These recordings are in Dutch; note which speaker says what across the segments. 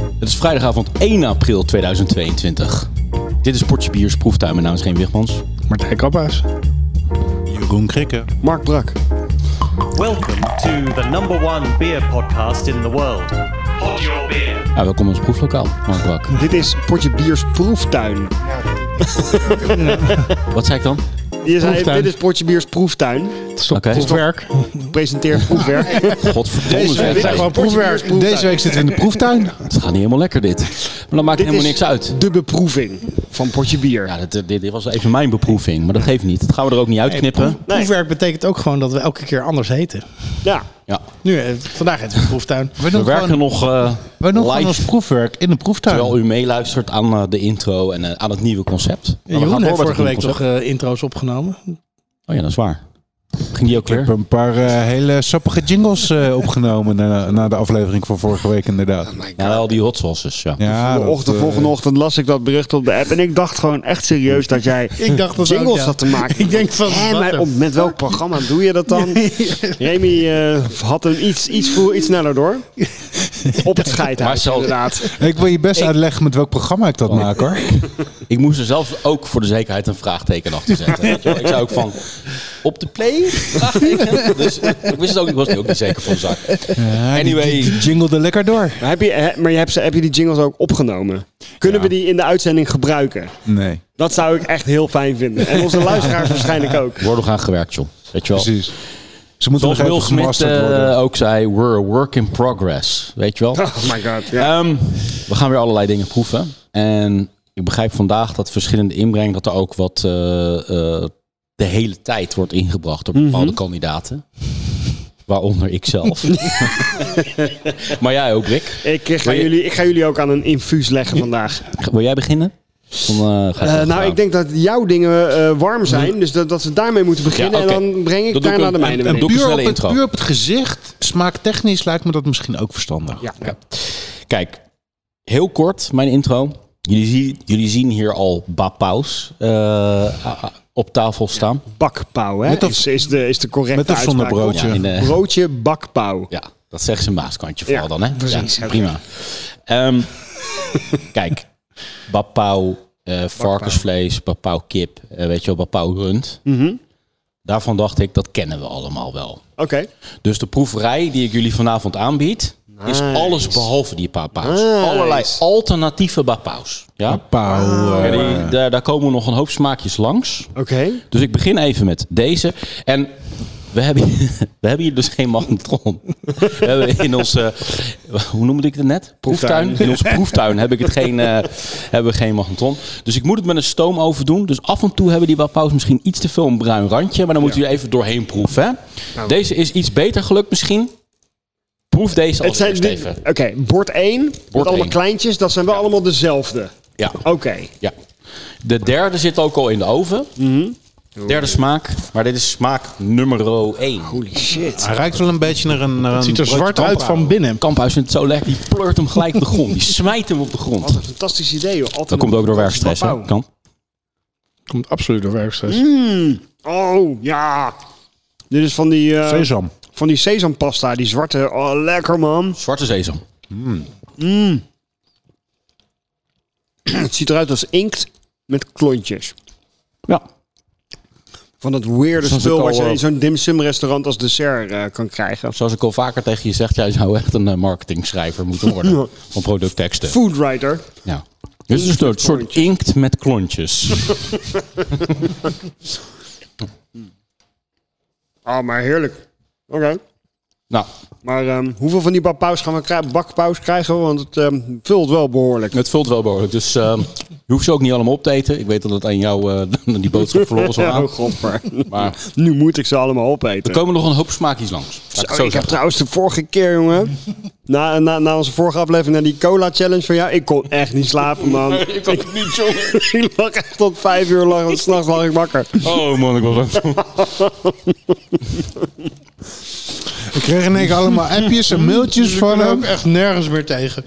Speaker 1: Het is vrijdagavond 1 april 2022. Dit is Portje Biers Proeftuin. Mijn naam is Geen Wichmans.
Speaker 2: Martijn Kappa's.
Speaker 3: Jeroen Krikke.
Speaker 2: Mark Brak.
Speaker 4: Welcome to the number one beer podcast in the world. Pod your beer.
Speaker 1: Ja, Ah, welkom in ons proeflokaal, Mark Brak.
Speaker 2: Dit is Portje Biers Proeftuin.
Speaker 1: Wat zei ik dan?
Speaker 2: Je zei,
Speaker 5: Proeftuin.
Speaker 2: dit is Portje Biers Proeftuin.
Speaker 1: Oké.
Speaker 5: Proefwerk.
Speaker 2: Presenteert proefwerk.
Speaker 1: Godverdomme zeg.
Speaker 2: dit
Speaker 1: Het
Speaker 2: is
Speaker 1: gaat
Speaker 2: gewoon proefwerk.
Speaker 5: Deze week zitten we in de proeftuin.
Speaker 1: niet helemaal lekker dit. Maar dat maakt
Speaker 2: Dit
Speaker 1: helemaal
Speaker 2: is
Speaker 1: niks uit.
Speaker 2: de beproeving van Portje Bier.
Speaker 1: Ja, dit, dit, dit was even mijn beproeving, maar dat geeft niet. Dat gaan we er ook niet uitknippen.
Speaker 2: Nee.
Speaker 6: Proefwerk betekent ook gewoon dat we elke keer anders heten.
Speaker 2: Ja.
Speaker 1: Ja.
Speaker 6: Nu, eh, vandaag heet het proeftuin.
Speaker 5: We
Speaker 1: We
Speaker 5: doen
Speaker 1: werken
Speaker 5: gewoon,
Speaker 1: nog eh,
Speaker 5: we doen gewoon ons
Speaker 1: live,
Speaker 5: proefwerk in de proeftuin.
Speaker 1: terwijl u meeluistert aan eh, de intro en eh, aan het nieuwe concept. Maar we gaan door
Speaker 6: Jeroen
Speaker 1: met
Speaker 6: heeft
Speaker 1: het
Speaker 6: vorige
Speaker 1: nieuwe
Speaker 6: week
Speaker 1: concept.
Speaker 6: toch eh, intro's opgenomen.
Speaker 2: Hm.
Speaker 1: Oh ja, dat is waar. Ging die ook
Speaker 3: Ik heb
Speaker 1: weer?
Speaker 3: een paar eh, hele sappige jingles eh, opgenomen na, na de aflevering van vorige week inderdaad.
Speaker 1: Ja, wel die hot sauces, ja.
Speaker 3: Ja,
Speaker 2: De
Speaker 3: dat,
Speaker 2: ochtend,
Speaker 3: eh,
Speaker 2: volgende ochtend las ik dat bericht op de app. En ik dacht gewoon echt serieus dat jij
Speaker 6: Ik dacht dat
Speaker 2: jingles
Speaker 6: ook, ja.
Speaker 2: zat te maken.
Speaker 6: Ik denk van,
Speaker 2: Hè,
Speaker 6: wat
Speaker 2: maar
Speaker 6: de
Speaker 2: op, met welk programma doe je dat dan? Remy eh, had hem iets, iets, vroeg, iets sneller door. Op het
Speaker 1: Maar
Speaker 2: scheidhuis
Speaker 1: zo-
Speaker 2: inderdaad.
Speaker 3: Ik wil je best uitleggen met welk programma ik dat maak hoor.
Speaker 1: Ik moest er zelfs ook voor de zekerheid een vraagteken achter zetten. weet je wel. Ik zei ook van, op de play? Vraagteken? Dus ik wist het ook, ik was er ook niet zeker van de zaak. Anyway,
Speaker 3: Die jingelde lekker door.
Speaker 2: Maar, heb je, hè, maar je hebt, ze- heb je die jingles ook opgenomen? Kunnen we die in de uitzending gebruiken?
Speaker 3: Nee,
Speaker 2: Dat zou ik echt heel fijn vinden. En onze luisteraars waarschijnlijk ook.
Speaker 1: we worden gaan gewerkt, joh. Weet je wel.
Speaker 3: precies. Ze moeten
Speaker 1: Zoals
Speaker 3: nog
Speaker 1: Will
Speaker 3: even
Speaker 1: Smith
Speaker 3: gemasterd
Speaker 1: eh,
Speaker 3: worden.
Speaker 1: ook zei, we're a work in progress. Weet je wel.
Speaker 2: Oh my god. Ja.
Speaker 1: Ehm, we gaan weer allerlei dingen proeven. En ik begrijp vandaag dat verschillende inbreng, dat er ook wat eh, eh, de hele tijd wordt ingebracht door bepaalde
Speaker 3: Mhm.
Speaker 1: kandidaten. Waaronder ikzelf. maar jij ook, Rick.
Speaker 2: Ik, eh, ga
Speaker 1: Maar je-
Speaker 2: jullie, ik ga jullie ook aan een infuus leggen vandaag.
Speaker 1: Wil jij beginnen? Dan, eh, ga ik
Speaker 2: Eh,
Speaker 1: even
Speaker 2: nou,
Speaker 1: aan.
Speaker 2: ik denk dat jouw dingen eh, warm zijn. Dus dat, dat we daarmee moeten beginnen.
Speaker 1: Mm. Ja, oké.
Speaker 2: En dan breng ik
Speaker 1: Dat doe ik
Speaker 2: daarna
Speaker 1: een-
Speaker 2: de mijne
Speaker 1: een-
Speaker 2: mee.
Speaker 1: een- Doe ik
Speaker 5: puur,
Speaker 1: snelle
Speaker 5: op het,
Speaker 1: intro.
Speaker 5: puur op het gezicht, smaaktechnisch lijkt me dat misschien ook verstandig.
Speaker 2: Ja.
Speaker 1: Kijk, heel kort mijn intro. Jullie, zien- jullie zien hier al Bapaus eh, op tafel staan.
Speaker 2: Bakpauw, hè?
Speaker 3: Met dat-
Speaker 2: is, is, de, is de correcte
Speaker 3: Met of
Speaker 2: uitspraak.
Speaker 3: zonder broodje?
Speaker 1: Ja, in de-
Speaker 2: Broodje bakpauw.
Speaker 1: Ja, dat zegt ze Maaskantje vooral
Speaker 2: Ja,
Speaker 1: dan, hè?
Speaker 2: precies.
Speaker 1: Ja, prima. Ehm, kijk, bapau eh, varkensvlees, bapau kip, eh, weet je wel, bapau rund.
Speaker 2: Mhm.
Speaker 1: Daarvan dacht ik, dat kennen we allemaal wel.
Speaker 2: Oké.
Speaker 1: Dus de proeverij die ik jullie vanavond aanbied, is alles behalve die bapaus.
Speaker 2: Nice.
Speaker 1: Allerlei alternatieve bapaus. Ja?
Speaker 3: Pauw, eh,
Speaker 1: En die- daar, daar komen nog een hoop smaakjes langs.
Speaker 2: Oké.
Speaker 1: Dus ik begin even met deze. En we hebben, we hebben hier dus geen magnetron. We hebben in onze, hoe noemde ik het net? Proeftuin. In onze proeftuin heb ik het geen, eh, hebben we geen magnetron. Dus ik moet het met een stoomoven doen. Dus af en toe hebben die wapaus misschien iets te veel een bruin randje. Maar dan moeten jullie even doorheen proeven. Hè?
Speaker 2: Nou.
Speaker 1: Deze is iets beter gelukt misschien. Proef deze
Speaker 2: Het
Speaker 1: als
Speaker 2: zijn
Speaker 1: eerst
Speaker 2: die-
Speaker 1: even.
Speaker 2: Oké, bord 1. met allemaal
Speaker 1: één.
Speaker 2: kleintjes. Dat zijn wel allemaal dezelfde.
Speaker 1: Ja,
Speaker 2: Oké.
Speaker 1: ja. De derde zit ook al in de oven.
Speaker 2: Mhm.
Speaker 1: Derde smaak. Maar dit is smaak nummer 1.
Speaker 2: Holy shit.
Speaker 3: Hij ruikt wel een beetje naar een... Naar
Speaker 6: Het ziet er
Speaker 3: een
Speaker 6: zwart uit van binnen.
Speaker 1: Kamphuis vindt het zo lekker. Die pleurt hem gelijk op de grond. Die smijt hem op de grond.
Speaker 2: Wat een fantastisch idee, joh. Altijd
Speaker 1: Dat komt ook door werkstress, hè?
Speaker 2: bakpauw.
Speaker 1: Kan.
Speaker 6: Komt absoluut door werkstress.
Speaker 2: Oh, ja. Dit is van die... eh,
Speaker 3: sesam.
Speaker 2: Van die sesampasta, die zwarte. Oh, lekker man.
Speaker 1: Zwarte sesam.
Speaker 2: Het ziet eruit als inkt met klontjes.
Speaker 1: Ja.
Speaker 2: Van dat weirde
Speaker 1: Zoals
Speaker 2: spul
Speaker 1: ik al,
Speaker 2: wat je
Speaker 1: eh,
Speaker 2: in zo'n dimsum restaurant als dessert eh, kan krijgen.
Speaker 1: Zoals ik al vaker tegen je zeg, jij zou echt een eh, marketingschrijver moeten worden. Van productteksten.
Speaker 2: Foodwriter.
Speaker 1: Ja. Dit is een soort, soort inkt met klontjes.
Speaker 2: Oh, maar heerlijk. Oké.
Speaker 1: nou,
Speaker 2: Maar ehm, hoeveel van die bakpaus gaan we krijgen? Bakpaus krijgen we? Want het ehm, vult wel behoorlijk.
Speaker 1: het vult wel behoorlijk. Dus ehm, je hoeft ze ook niet allemaal op te eten. Ik weet dat het aan jou eh, die boodschap verloren zal
Speaker 2: Ja,
Speaker 1: gaan.
Speaker 2: oh, godver.
Speaker 1: Maar
Speaker 2: Nu moet ik ze allemaal opeten.
Speaker 1: er komen nog een hoop smaakjes langs. Laat ik het zo
Speaker 2: Oh, ik heb
Speaker 1: zeggen.
Speaker 2: trouwens de vorige keer, jongen. Na, na, na onze vorige aflevering, na die cola challenge van jou. Ik kon echt niet slapen, man. ik kon niet zo. ik lag echt tot vijf uur lang. want S'nachts lag ik wakker.
Speaker 1: Oh man, ik was ook
Speaker 3: Ik kreeg ineens allemaal appjes en mailtjes
Speaker 6: Ik
Speaker 3: van
Speaker 6: ben er
Speaker 3: hem.
Speaker 6: ook echt nergens meer
Speaker 2: Hm.
Speaker 6: tegen.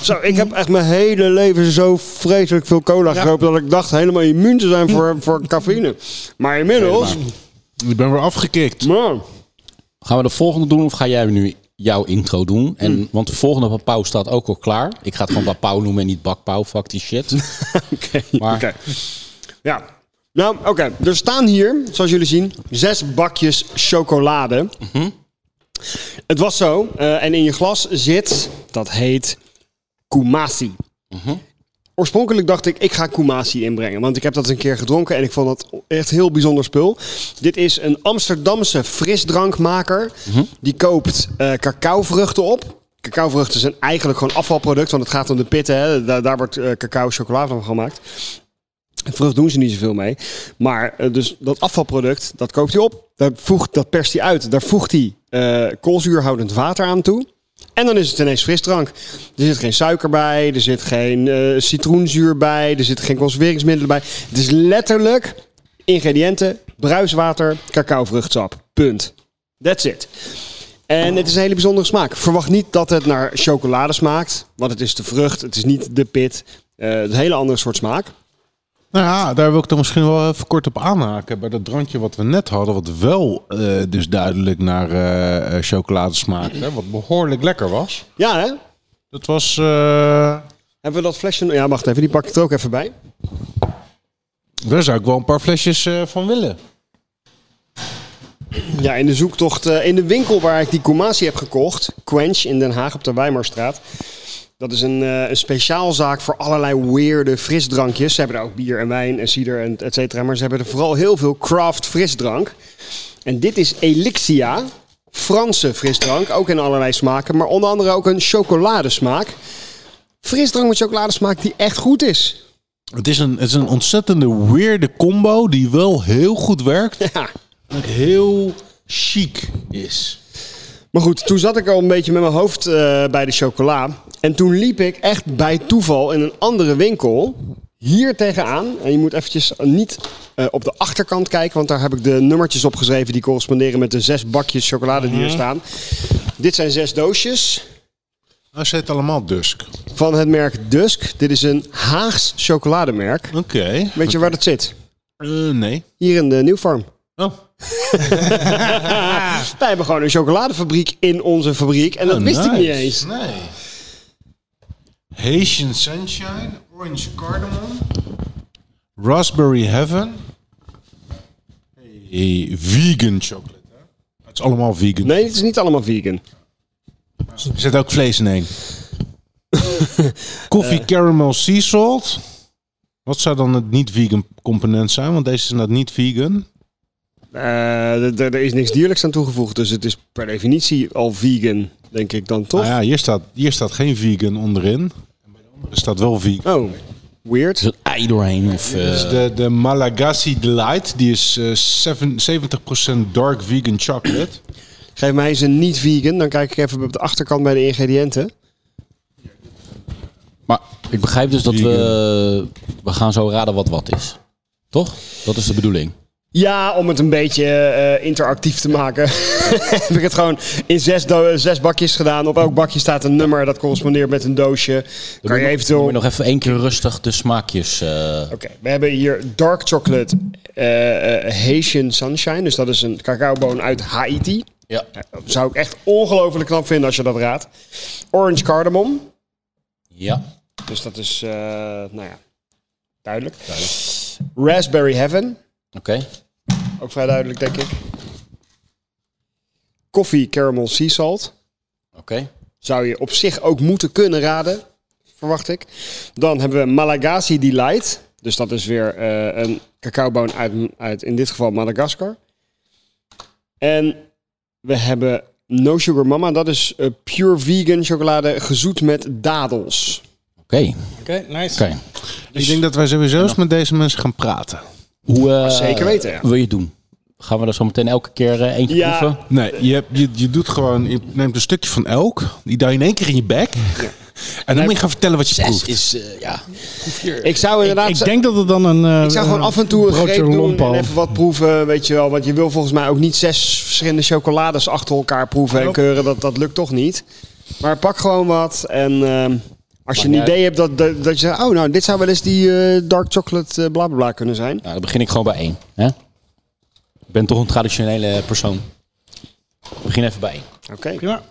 Speaker 2: Zo, ik heb echt mijn hele leven zo vreselijk veel cola geroepen. dat ik dacht helemaal immuun te zijn voor, voor cafeïne. Maar inmiddels.
Speaker 3: Ik ben weer afgekikt.
Speaker 2: Man,
Speaker 1: Gaan we de volgende doen of ga jij nu jouw intro doen. En,
Speaker 2: Hmm.
Speaker 1: Want de volgende papau staat ook al klaar. Ik ga het gewoon papau noemen en niet bakpauw. Fuck die shit.
Speaker 2: Oké.
Speaker 1: Maar-
Speaker 2: oké. Ja. Nou, oké. Er staan hier, zoals jullie zien, zes bakjes chocolade. Het was zo. eh, en in je glas zit, dat heet Kumasi. Oorspronkelijk dacht ik, ik ga Kumasi inbrengen. Want ik heb dat een keer gedronken en ik vond dat echt heel bijzonder spul. Dit is een Amsterdamse frisdrankmaker. Die koopt eh, cacaovruchten op. Cacaovruchten zijn eigenlijk gewoon afvalproduct, want het gaat om de pitten. Hè. Daar, daar wordt eh, cacao chocola van gemaakt. Vrucht doen ze niet zoveel mee. Maar eh, dus dat afvalproduct, dat koopt hij op. Daar voegt, dat perst hij uit. Daar voegt hij eh, koolzuurhoudend water aan toe. En dan is het ineens frisdrank. Er zit geen suiker bij, er zit geen eh, citroenzuur bij, er zitten geen conserveringsmiddelen bij. Het is letterlijk ingrediënten, bruiswater, cacaovruchtsap. Punt. That's it. En het is een hele bijzondere smaak. Verwacht niet dat het naar chocolade smaakt, want het is de vrucht, het is niet de pit. Eh, het is een hele andere soort smaak.
Speaker 5: Nou ja, daar wil ik dan misschien wel even kort op aanhaken. Bij dat drankje wat we net hadden, wat wel eh, dus duidelijk naar eh eh, chocolade smaakte. Wat behoorlijk lekker was.
Speaker 2: Ja, hè?
Speaker 5: Dat was... eh,
Speaker 2: Hebben we dat flesje... Ja, wacht even. Die pak ik er ook even bij.
Speaker 5: daar zou ik wel een paar flesjes eh, van willen.
Speaker 2: Ja, in de zoektocht eh, in de winkel waar ik die Kumasi heb gekocht. Quench in Den Haag op de Weimarstraat. Dat is een, eh een speciaalzaak voor allerlei weirde frisdrankjes. Ze hebben daar ook bier en wijn en cider en et cetera. Maar ze hebben er vooral heel veel craft frisdrank. En dit is Elixia. Franse frisdrank. Ook in allerlei smaken. Maar onder andere ook een chocoladesmaak. Frisdrank met chocoladesmaak die echt goed is.
Speaker 5: Het is een, het is een ontzettende weirde combo die wel heel goed werkt.
Speaker 2: Ja.
Speaker 5: En ook heel chic is.
Speaker 2: Maar goed, toen zat ik al een beetje met mijn hoofd eh, bij de chocola. En toen liep ik echt bij toeval in een andere winkel hier tegenaan. En je moet eventjes niet eh, op de achterkant kijken, want daar heb ik de nummertjes op geschreven die corresponderen met de zes bakjes chocolade die
Speaker 5: Mhm.
Speaker 2: hier staan. Dit zijn zes doosjes
Speaker 5: Nou, ze heet allemaal Dusk. Oké.
Speaker 2: van het merk Dusk. Dit is een Haags chocolademerk. Weet je waar dat zit?
Speaker 5: Eh, nee.
Speaker 2: Hier in de Nieuwfarm.
Speaker 5: Oh.
Speaker 2: Wij hebben gewoon een chocoladefabriek in onze fabriek. En dat
Speaker 5: Oh,
Speaker 2: wist ik niet
Speaker 5: nice.
Speaker 2: eens.
Speaker 5: Nee. Haitian Sunshine, Orange Cardamom, Raspberry Heaven. Hey, vegan chocolate. Hè? Het is allemaal vegan.
Speaker 2: Nee, het is niet allemaal vegan.
Speaker 5: Er zit ook vlees in één. Koffie caramel sea salt. Wat zou dan het niet-vegan component zijn? Want deze is inderdaad niet vegan.
Speaker 2: Eh, d- d- er is niks dierlijks aan toegevoegd, dus het is per definitie al vegan, denk ik dan toch?
Speaker 1: Ah,
Speaker 5: Nou ja, hier staat, hier staat geen vegan onderin. En bij de andere staat wel vegan.
Speaker 2: Oh, weird.
Speaker 1: Er zit een ei doorheen. Of, eh,
Speaker 5: Dit
Speaker 2: dus-
Speaker 5: is Dus de, de Malagasy Delight. Die is eh, seven- 70% dark vegan chocolate.
Speaker 2: Geef mij eens een niet-vegan, dan kijk ik even op de achterkant bij de ingrediënten.
Speaker 1: Maar ik begrijp dus dat we... eh, We gaan zo raden wat wat is. Toch? Dat is de bedoeling.
Speaker 2: Ja, om het een beetje eh, interactief te maken, heb ik het gewoon in zes, do- zes bakjes gedaan. Op elk bakje staat een nummer dat correspondeert met een doosje. Kan je eventueel...
Speaker 1: Maar nog even één keer rustig de smaakjes... eh,
Speaker 2: Oké, we hebben hier dark chocolate eh, eh, Haitian sunshine. Dus dat is een cacaoboon uit Haiti.
Speaker 1: ja.
Speaker 2: Dat zou ik echt ongelooflijk knap vinden als je dat raadt. Orange cardamom.
Speaker 1: Ja.
Speaker 2: Dus dat is, eh, nou ja, duidelijk. Raspberry heaven.
Speaker 1: Oké.
Speaker 2: Ook vrij duidelijk, denk ik. Koffie caramel sea salt.
Speaker 1: Oké.
Speaker 2: Zou je op zich ook moeten kunnen raden, verwacht ik. Dan hebben we Malagasy Delight. Dus dat is weer eh, een cacaoboon uit, uit, in dit geval, Madagaskar. En we hebben No Sugar Mama. Dat is eh, pure vegan chocolade gezoet met dadels.
Speaker 1: Oké.
Speaker 6: Oké, nice.
Speaker 1: Oké.
Speaker 5: Ik denk dat wij sowieso eens met deze mensen gaan praten.
Speaker 1: Hoe eh,
Speaker 2: Zeker weten, ja.
Speaker 1: wil je het doen? Gaan we er zo meteen elke keer eh, eentje
Speaker 2: Ja.
Speaker 1: proeven?
Speaker 5: Nee, je, hebt- je, je doet gewoon, je neemt een stukje van elk. Die duw je in één keer in je bek. En dan moet je gaan vertellen wat je proeft.
Speaker 1: is, eh, ja.
Speaker 2: Ik zou inderdaad...
Speaker 6: Ik denk dat het dan een... eh,
Speaker 2: ik zou gewoon
Speaker 6: een
Speaker 2: af en toe een
Speaker 6: broodje
Speaker 2: greep doen
Speaker 6: lompo.
Speaker 2: en even wat proeven, weet je wel. Want je wil volgens mij ook niet zes verschillende chocolades achter elkaar proeven en keuren. Dat, dat lukt toch niet. Maar pak gewoon wat en ehm, als je een
Speaker 1: Maar jij-
Speaker 2: idee hebt dat, dat, dat je zegt... Oh, nou, dit zou wel eens die eh, dark chocolate eh, bla bla bla kunnen zijn.
Speaker 1: Nou, dan begin ik gewoon bij één. Hè? Ik ben toch een traditionele persoon. Ik begin even bij één.
Speaker 2: Oké.
Speaker 6: Prima.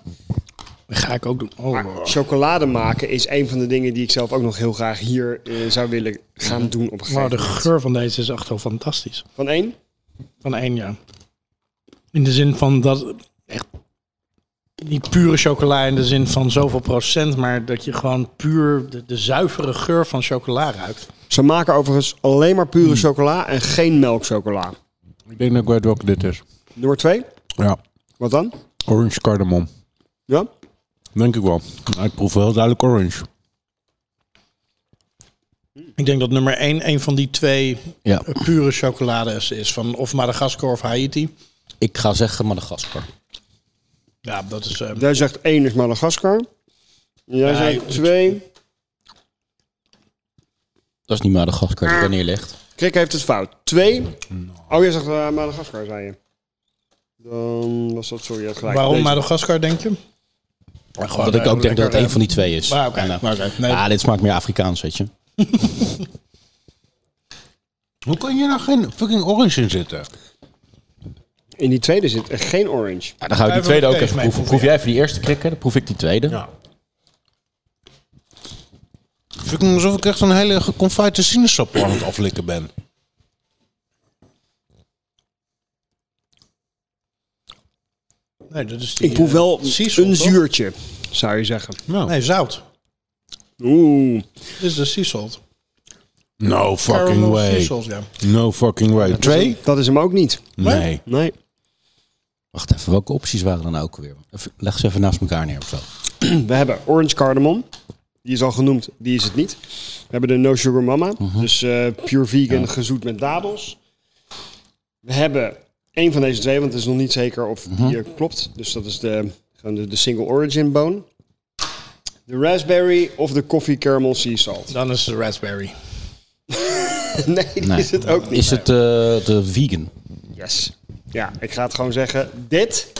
Speaker 6: ga ik ook doen. Oh,
Speaker 2: Maar
Speaker 6: wow.
Speaker 2: chocolade maken is een van de dingen die ik zelf ook nog heel graag hier eh, zou willen gaan doen op een
Speaker 6: Maar
Speaker 2: gegeven
Speaker 6: de
Speaker 2: moment.
Speaker 6: geur van deze is echt wel fantastisch.
Speaker 2: Van één?
Speaker 6: Van één jaar. In de zin van dat echt niet pure chocola in de zin van zoveel procent, maar dat je gewoon puur de, de zuivere geur van chocola ruikt.
Speaker 2: Ze maken overigens alleen maar pure chocola en geen melkchocola.
Speaker 5: Ik denk dat ik weet welke dit is.
Speaker 2: Nummer twee?
Speaker 5: Ja,
Speaker 2: Wat dan?
Speaker 5: orange cardamom.
Speaker 2: Ja?
Speaker 5: Denk ik wel. Nou, ik proef wel duidelijk orange.
Speaker 6: Ik denk dat nummer één een van die twee
Speaker 1: Ja.
Speaker 6: eh, pure chocolades is van of Madagaskar of Haiti.
Speaker 1: Ik ga zeggen Madagaskar.
Speaker 6: Ja, dat is. eh,
Speaker 2: Jij zegt één is Madagaskar. Jij
Speaker 6: Ja,
Speaker 2: zegt
Speaker 6: ik-
Speaker 2: twee.
Speaker 1: Dat is niet Madagaskar die daar neerlegt.
Speaker 2: Krik heeft het fout. Twee. Oh, jij zegt eh, Madagaskar, zei je. Dan was dat, sorry, je had gelijk.
Speaker 6: waarom
Speaker 2: Deze.
Speaker 6: Madagaskar denk je?
Speaker 1: Omdat ik ook denk dat het een van die twee is.
Speaker 6: Maar oké,
Speaker 1: En,
Speaker 2: nou.
Speaker 1: eh,
Speaker 6: maar oké. Nee,
Speaker 2: Ah,
Speaker 1: Ja, dit smaakt meer Afrikaans, weet je. Nou,
Speaker 5: Hoe kan je nou geen fucking orange in zitten?
Speaker 2: In die tweede zit echt geen orange.
Speaker 1: Ja, dan gaan we die
Speaker 6: Blijven we
Speaker 1: tweede ook
Speaker 6: deze
Speaker 1: even
Speaker 6: mee
Speaker 1: proeven.
Speaker 6: proeven,
Speaker 1: Proef jij even die eerste krikken, dan proef ik die tweede.
Speaker 5: Fucking alsof ik echt een hele geconfite sinaasappel aan het aflikken ben.
Speaker 6: nee, dat is die,
Speaker 2: Ik proef
Speaker 6: eh,
Speaker 2: wel
Speaker 6: sisal,
Speaker 2: een
Speaker 6: toch?
Speaker 2: zuurtje, zou je zeggen.
Speaker 6: Nee, zout.
Speaker 2: Oeh.
Speaker 6: Dit is de sea salt.
Speaker 5: No fucking
Speaker 6: Caramel sea
Speaker 5: way.
Speaker 6: salt, ja.
Speaker 5: No fucking way. Twee?
Speaker 2: Dat is hem ook niet.
Speaker 5: Nee.
Speaker 2: Nee.
Speaker 1: Wacht even, welke opties waren dan ook weer? Even- Leg ze even naast elkaar neer of zo.
Speaker 2: We hebben Orange Cardamom. Die is al genoemd, die is het niet. We hebben de No Sugar Mama. Dus eh, pure vegan, gezoet met dadels. We hebben één van deze twee, want het is nog niet zeker of die eh, klopt. Dus dat is de, gewoon de, de single origin bone. De raspberry of de coffee caramel sea salt.
Speaker 6: Dan is de raspberry.
Speaker 2: Nee, die
Speaker 1: Nee.
Speaker 2: is het ook niet.
Speaker 1: Is het eh, de vegan?
Speaker 2: Yes. Ja, ik ga het gewoon zeggen. Dit,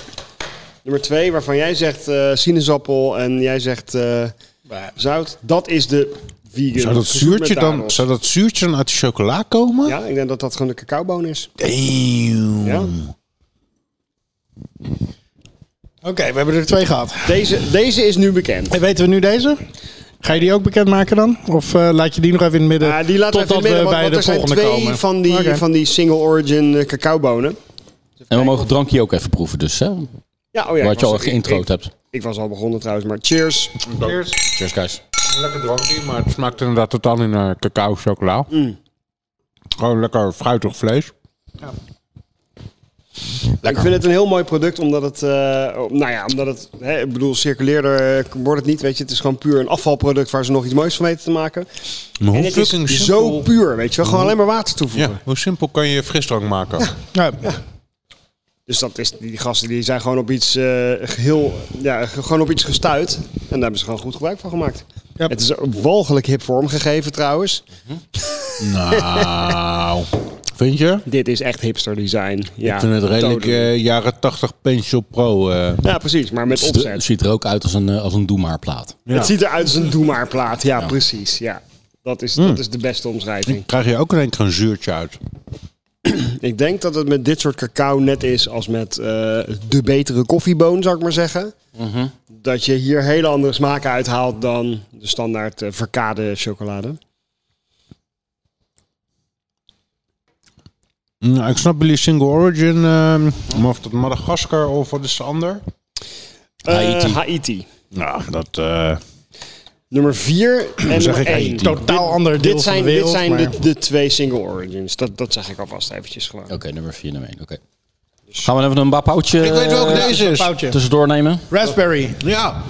Speaker 2: nummer twee, waarvan jij zegt eh, sinaasappel en jij zegt eh,
Speaker 6: Maar
Speaker 2: zout. Dat is de vegan.
Speaker 5: Zou dat,
Speaker 2: gezoet met
Speaker 5: zuurtje dan,
Speaker 2: dadels.
Speaker 5: zou dat zuurtje dan uit de chocola komen?
Speaker 2: Ja, ik denk dat dat gewoon de cacaoboon is.
Speaker 5: Damn.
Speaker 2: Ja.
Speaker 6: Oké, we hebben er twee gehad.
Speaker 2: Deze, deze is nu bekend.
Speaker 6: Hey, weten we nu deze? Ga je die ook bekendmaken dan? Of eh, laat je die nog even in het midden?
Speaker 2: Ja, die laten we even
Speaker 6: totdat
Speaker 2: in het midden,
Speaker 6: we
Speaker 2: want,
Speaker 6: bij
Speaker 2: want
Speaker 6: de
Speaker 2: er zijn
Speaker 6: volgende
Speaker 2: twee
Speaker 6: komen.
Speaker 2: van die,
Speaker 6: Oké.
Speaker 2: van die single origin eh, cacaobonen.
Speaker 1: En we mogen het drankje ook even proeven dus, hè?
Speaker 2: Ja, oh ja. ik
Speaker 1: Wat je
Speaker 2: was-
Speaker 1: al
Speaker 2: ik-
Speaker 1: geïntro'd
Speaker 2: ik,
Speaker 1: hebt.
Speaker 2: ik was al begonnen trouwens, maar cheers.
Speaker 1: Cheers, guys.
Speaker 5: Lekker drankje, maar het smaakt inderdaad totaal niet naar cacao chocola. Gewoon lekker fruitig vlees.
Speaker 2: Ik vind het een heel mooi product, omdat het, eh, oh, nou ja, omdat het, hè, ik bedoel, circulairder eh, wordt het niet, weet je. Het is gewoon puur een afvalproduct waar ze nog iets moois van weten te maken.
Speaker 5: Maar
Speaker 2: En
Speaker 5: hoe
Speaker 2: het is
Speaker 5: fucking
Speaker 2: zo
Speaker 5: simpel,
Speaker 2: puur, weet je wel. Gewoon alleen maar water toevoegen.
Speaker 5: ja, hoe simpel kan je frisdrank maken?
Speaker 6: Ja,
Speaker 2: Dus dat is, die gasten die zijn gewoon op iets, eh, heel, ja, ge- gewoon op iets gestuurd. En daar hebben ze gewoon goed gebruik van gemaakt.
Speaker 6: Ja.
Speaker 2: Het is ook walgelijk hip vormgegeven trouwens.
Speaker 5: Nou, vind je?
Speaker 2: Dit is echt hipster design. Ja,
Speaker 5: Ik vind het redelijk
Speaker 2: totally.
Speaker 5: eh, jaren 80 Pencil Pro. eh.
Speaker 2: ja, precies, maar met
Speaker 1: Het
Speaker 2: opzet.
Speaker 1: ziet er ook uit als een, eh, als een doemaarplaat.
Speaker 2: Het ziet eruit als een doe maar plaat. Ja, precies. Ja. Dat,
Speaker 5: Hmm.
Speaker 2: is, dat is de beste omschrijving.
Speaker 5: Krijg je ook in één keer een zuurtje uit.
Speaker 2: Ik denk dat het met dit soort cacao net is als met eh, de betere koffieboon, zou ik maar zeggen.
Speaker 6: Mhm.
Speaker 2: Dat je hier hele andere smaken uithaalt dan de standaard eh, verkade chocolade.
Speaker 5: Nou, ik snap jullie single origin, ehm, maar of dat Madagaskar of wat is de ander?
Speaker 2: Eh,
Speaker 1: Haiti.
Speaker 2: Haiti.
Speaker 5: Nou, dat... eh,
Speaker 2: Nummer 4 en nummer
Speaker 5: ik
Speaker 2: 1.
Speaker 5: Haiti.
Speaker 6: Totaal ander deel
Speaker 2: dit
Speaker 6: van
Speaker 2: zijn,
Speaker 6: de wereld.
Speaker 2: dit zijn
Speaker 6: maar-
Speaker 2: de, de twee single origins. Dat, dat zeg ik alvast eventjes gewoon.
Speaker 1: Oké, nummer 4, nummer 1. Oké. Dus- Gaan we even een bapoutje
Speaker 5: ik weet welke
Speaker 1: eh,
Speaker 5: deze
Speaker 6: Een
Speaker 5: is.
Speaker 6: foutje.
Speaker 1: tussendoor nemen?
Speaker 6: Raspberry.
Speaker 5: Ja.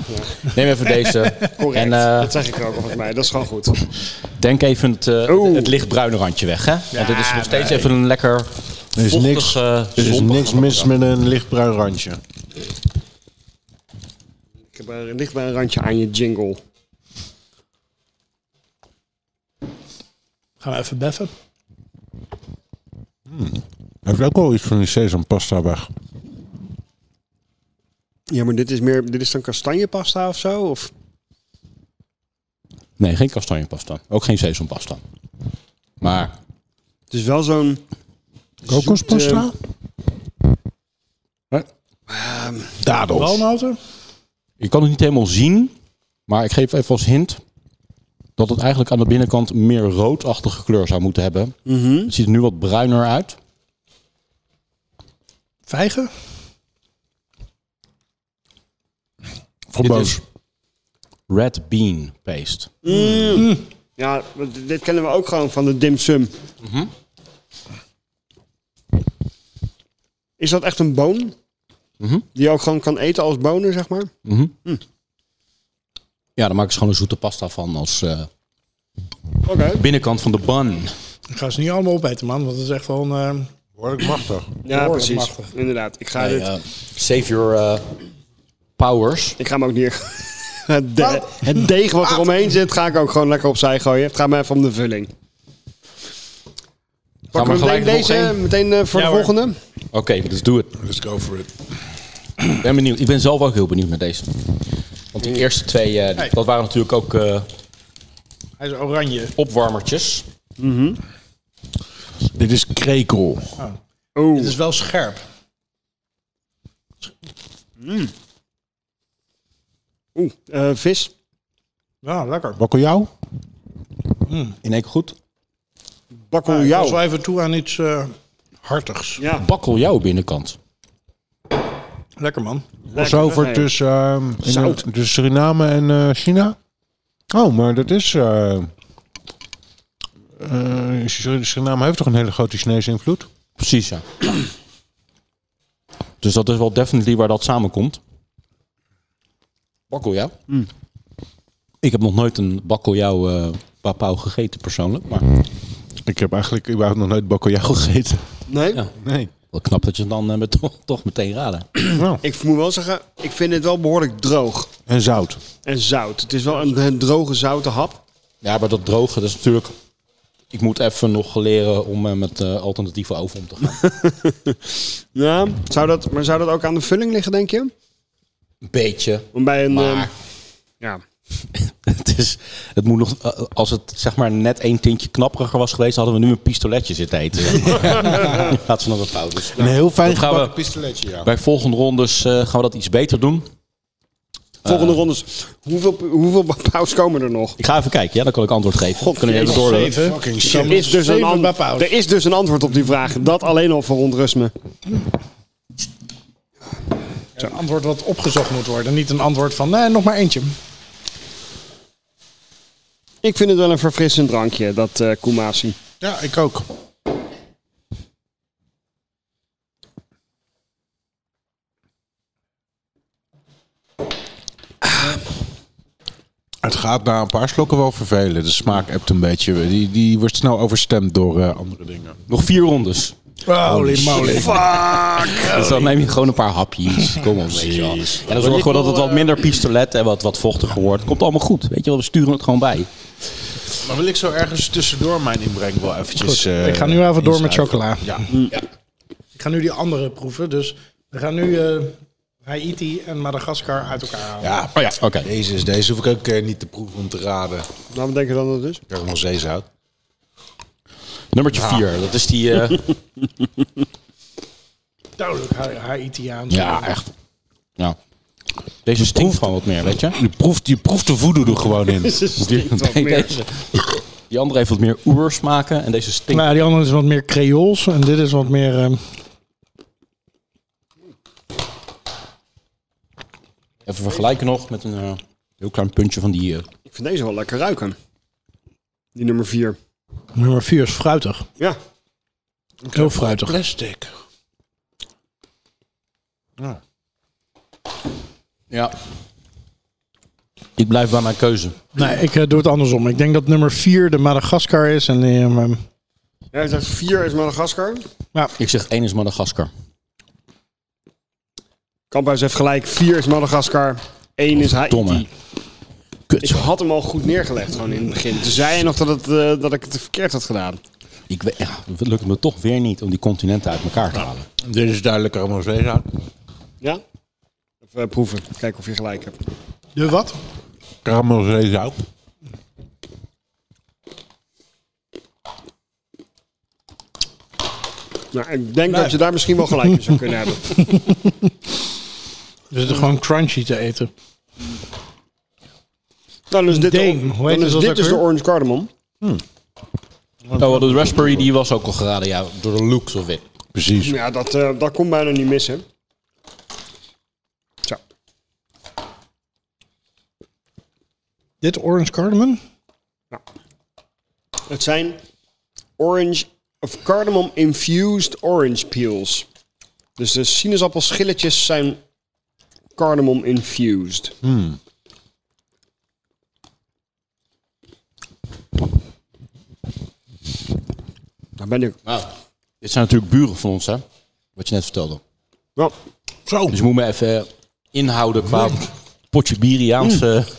Speaker 1: Neem even deze.
Speaker 2: Correct.
Speaker 1: En eh,
Speaker 2: dat zeg ik er ook volgens mij. Dat is gewoon goed.
Speaker 1: denk even het, eh,
Speaker 5: Oh.
Speaker 2: Oeh.
Speaker 1: het lichtbruine randje weg, hè? Want dit is nog steeds even een lekker
Speaker 5: Er is niks,
Speaker 1: vochtig, eh,
Speaker 5: er is
Speaker 1: zompig-
Speaker 5: niks mis met een lichtbruin randje.
Speaker 2: Ik heb er ligt bij een randje aan je jingle.
Speaker 6: Gaan we even beffen.
Speaker 5: Heeft ook wel iets van die sesampasta weg.
Speaker 2: Ja, maar dit is meer. Dit is dan kastanjepasta of zo? Of?
Speaker 1: Nee, geen kastanjepasta. Ook geen sesampasta. Maar
Speaker 2: Het is wel zo'n.
Speaker 5: eh,
Speaker 2: eh,
Speaker 5: Kokospasta?
Speaker 1: Wat?
Speaker 5: Dadels.
Speaker 6: Walnoten?
Speaker 1: Ik kan het niet helemaal zien, maar ik geef even als hint dat het eigenlijk aan de binnenkant meer roodachtige kleur zou moeten hebben.
Speaker 5: Mhm.
Speaker 1: Het ziet er nu wat bruiner uit.
Speaker 6: Vijgen?
Speaker 1: Voor Red bean paste.
Speaker 2: Ja, want dit kennen we ook gewoon van de dim sum. Is dat echt een boon? Die je ook gewoon kan eten als bonen, zeg maar?
Speaker 1: Ja, daar maken ze gewoon een zoete pasta van als eh,
Speaker 2: Oké.
Speaker 1: binnenkant van de bun.
Speaker 6: Ik ga ze niet allemaal opeten, man. Want dat is echt wel een... eh,
Speaker 5: Behoorlijk machtig.
Speaker 2: Ja,
Speaker 6: Behoorlijk
Speaker 2: precies.
Speaker 6: machtig.
Speaker 2: Inderdaad. Ik ga,
Speaker 1: Nee,
Speaker 2: dit,
Speaker 1: eh, save your eh, powers.
Speaker 2: ik ga hem ook neer. Het, de- het deeg wat er omheen zit, ga ik ook gewoon lekker opzij gooien. Het gaat mij even om de vulling.
Speaker 1: Ga maar
Speaker 2: Pakken we meteen
Speaker 1: gelijk nog
Speaker 2: deze,
Speaker 1: één.
Speaker 2: meteen eh, voor
Speaker 6: Ja,
Speaker 2: de
Speaker 6: hoor.
Speaker 2: volgende?
Speaker 1: Oké, dus doe het.
Speaker 5: Let's go for it.
Speaker 1: Ik ben benieuwd. Ik ben zelf ook heel benieuwd naar deze. Want die eerste twee, eh, die-
Speaker 6: Hey.
Speaker 1: dat waren natuurlijk ook eh,
Speaker 6: hij is oranje.
Speaker 1: opwarmertjes.
Speaker 5: Dit is krekel.
Speaker 6: Het is wel scherp.
Speaker 2: Oeh, eh, vis.
Speaker 6: Ja, lekker.
Speaker 5: Bakkeljauw?
Speaker 1: In één keer goed.
Speaker 2: Bakkel
Speaker 6: Ja, ik was
Speaker 2: jou.
Speaker 6: wel even toe aan iets eh, hartigs.
Speaker 2: Ja,
Speaker 1: Bakkel jouw binnenkant.
Speaker 6: Lekker, man.
Speaker 5: Was over
Speaker 2: hè?
Speaker 5: tussen, ehm, in-
Speaker 2: Zout.
Speaker 5: tussen Suriname en eh, China? Oh, maar dat is... eh, eh, Sur- Suriname heeft toch een hele grote Chinese invloed?
Speaker 1: Precies, ja. dus dat is wel definitely waar dat samenkomt. Bakkeljauw.
Speaker 5: Hmm.
Speaker 1: Ik heb nog nooit een bakkeljauw eh papau gegeten persoonlijk. Maar
Speaker 5: Ik heb eigenlijk überhaupt nog nooit bakkeljauw gegeten.
Speaker 2: Nee?
Speaker 1: Ja.
Speaker 5: Nee.
Speaker 1: wel knap dat je het dan eh, met, toch, toch meteen raden.
Speaker 5: Nou,
Speaker 2: Ik moet wel zeggen, ik vind het wel behoorlijk droog.
Speaker 5: en zout.
Speaker 2: En zout. Het is wel een, een droge, zoute hap.
Speaker 1: Ja, maar dat drogen, dat is natuurlijk... Ik moet even nog leren om eh, met eh, alternatieve oven om te gaan.
Speaker 2: Ja. Zou dat, maar zou dat ook aan de vulling liggen, denk je?
Speaker 1: Een beetje.
Speaker 2: Want bij een...
Speaker 1: Maar-
Speaker 2: ehm, ja.
Speaker 1: Het, is, het moet nog, eh, als het zeg maar net één tintje knapperiger was geweest, hadden we nu een pistoletje zitten eten. Laten we nog wat pauze.
Speaker 5: Een heel fijn
Speaker 1: gaan we-
Speaker 5: gebakken pistoletje, ja.
Speaker 1: Bij volgende rondes eh, gaan we dat iets beter doen.
Speaker 2: Volgende ronde is... Hoeveel, hoeveel pauws komen er nog?
Speaker 1: Ik ga even kijken, ja, dan kan ik antwoord geven.
Speaker 2: God,
Speaker 1: Kunnen we even
Speaker 2: jezus,
Speaker 1: door?
Speaker 5: Fucking
Speaker 2: Er is, dus een
Speaker 6: Zeven
Speaker 2: an-
Speaker 6: bapaus.
Speaker 2: er is dus een antwoord op die vraag. Dat alleen al verontrust me.
Speaker 6: Een antwoord wat opgezocht moet worden. Niet een antwoord van, nee, nog maar eentje.
Speaker 2: Ik vind het wel een verfrissend drankje, dat eh koemasi.
Speaker 5: Ja, ik ook. Het gaat na een paar slokken wel vervelen. De smaak hebt een beetje. Die, die wordt snel overstemd door eh, andere dingen.
Speaker 1: Nog vier rondes.
Speaker 6: Holy moly.
Speaker 1: Dus
Speaker 5: Oh,
Speaker 1: dan neem je gewoon een paar hapjes. Kom op, weet je wel. En dan zorgen we dat het wat minder pistolet en wat, wat vochtiger wordt. Komt allemaal goed, weet je wel. We sturen het gewoon bij.
Speaker 5: Maar wil ik zo ergens tussendoor mijn inbreng wel eventjes... eh,
Speaker 6: ik ga nu even door met
Speaker 5: inschuiven?
Speaker 6: chocola.
Speaker 5: Ja. Mm.
Speaker 6: Ik ga nu die andere proeven. Dus we gaan nu eh, Haiti en Madagaskar uit elkaar halen.
Speaker 5: ja.
Speaker 1: Oh ja, oké.
Speaker 5: Jezus, deze hoef ik ook eh, niet te proeven om te raden. Ik
Speaker 2: Nou, wat denk je dan dat het is?
Speaker 5: krijg nog zeezout.
Speaker 1: Nummertje vier, dat is die... eh,
Speaker 6: Duidelijk Ha- Haitiaans.
Speaker 1: ja, echt. Ja. Deze stinkt gewoon wat meer, weet je.
Speaker 5: Je proeft, je proeft de voodoo er gewoon in.
Speaker 1: Nee, deze. Die andere heeft wat meer oersmaken en deze stinkt.
Speaker 6: Nou, die andere is wat meer Creools en dit is wat meer... ehm,
Speaker 1: Even vergelijken nog met een eh, heel klein puntje van die... eh,
Speaker 2: Ik vind deze wel lekker ruiken. Die nummer 4.
Speaker 6: nummer 4 is fruitig.
Speaker 2: Ja.
Speaker 6: Heel fruitig.
Speaker 5: Plastic.
Speaker 1: Ja. Ik blijf bij mijn keuze.
Speaker 6: Nee, ik eh, doe het andersom. Ik denk dat nummer 4 de Madagaskar is en die, ehm, ehm,
Speaker 2: Jij zegt 4 is Madagaskar.
Speaker 1: Ik zeg één is Madagaskar.
Speaker 2: Kamphuis heeft gelijk. 4 is Madagaskar. 1 is Haiti.
Speaker 1: Domme.
Speaker 2: Ik
Speaker 1: Kut.
Speaker 2: had hem al goed neergelegd gewoon in het begin. Toen zei je nog dat, het, eh, dat ik het verkeerd had gedaan.
Speaker 1: Ik weet, ja, het lukt me toch weer niet om die continenten uit elkaar te
Speaker 6: Nou,
Speaker 1: halen.
Speaker 5: Dit is duidelijk allemaal zeezout.
Speaker 2: Ja? Even eh, proeven. Kijken of je gelijk hebt.
Speaker 6: de wat?
Speaker 5: Karamel zeezout.
Speaker 2: Nou, ik denk dat je daar misschien wel gelijk in zou kunnen hebben.
Speaker 6: We zitten gewoon crunchy te eten.
Speaker 2: Nou, dan is dit,
Speaker 6: Deen,
Speaker 2: de,
Speaker 6: hoe heet
Speaker 2: dan
Speaker 6: het
Speaker 2: is
Speaker 6: ook
Speaker 2: dit dus de
Speaker 6: weer?
Speaker 2: orange cardamom.
Speaker 1: Oh, wel, de raspberry die was ook al geraden, ja, door de looks of it.
Speaker 5: Precies.
Speaker 2: Ja, dat, eh dat kon bijna niet missen. Zo.
Speaker 6: Dit Orange Cardamom?
Speaker 2: Nou. Het zijn orange of cardamom infused orange peels. Dus de sinaasappelschilletjes zijn cardamom infused. Daar ben ik.
Speaker 1: Nou, dit zijn natuurlijk buren van ons, hè? Wat je net vertelde.
Speaker 2: Nou,
Speaker 1: Dus je moet me even eh, inhouden qua potje Biriaanse
Speaker 6: Mm.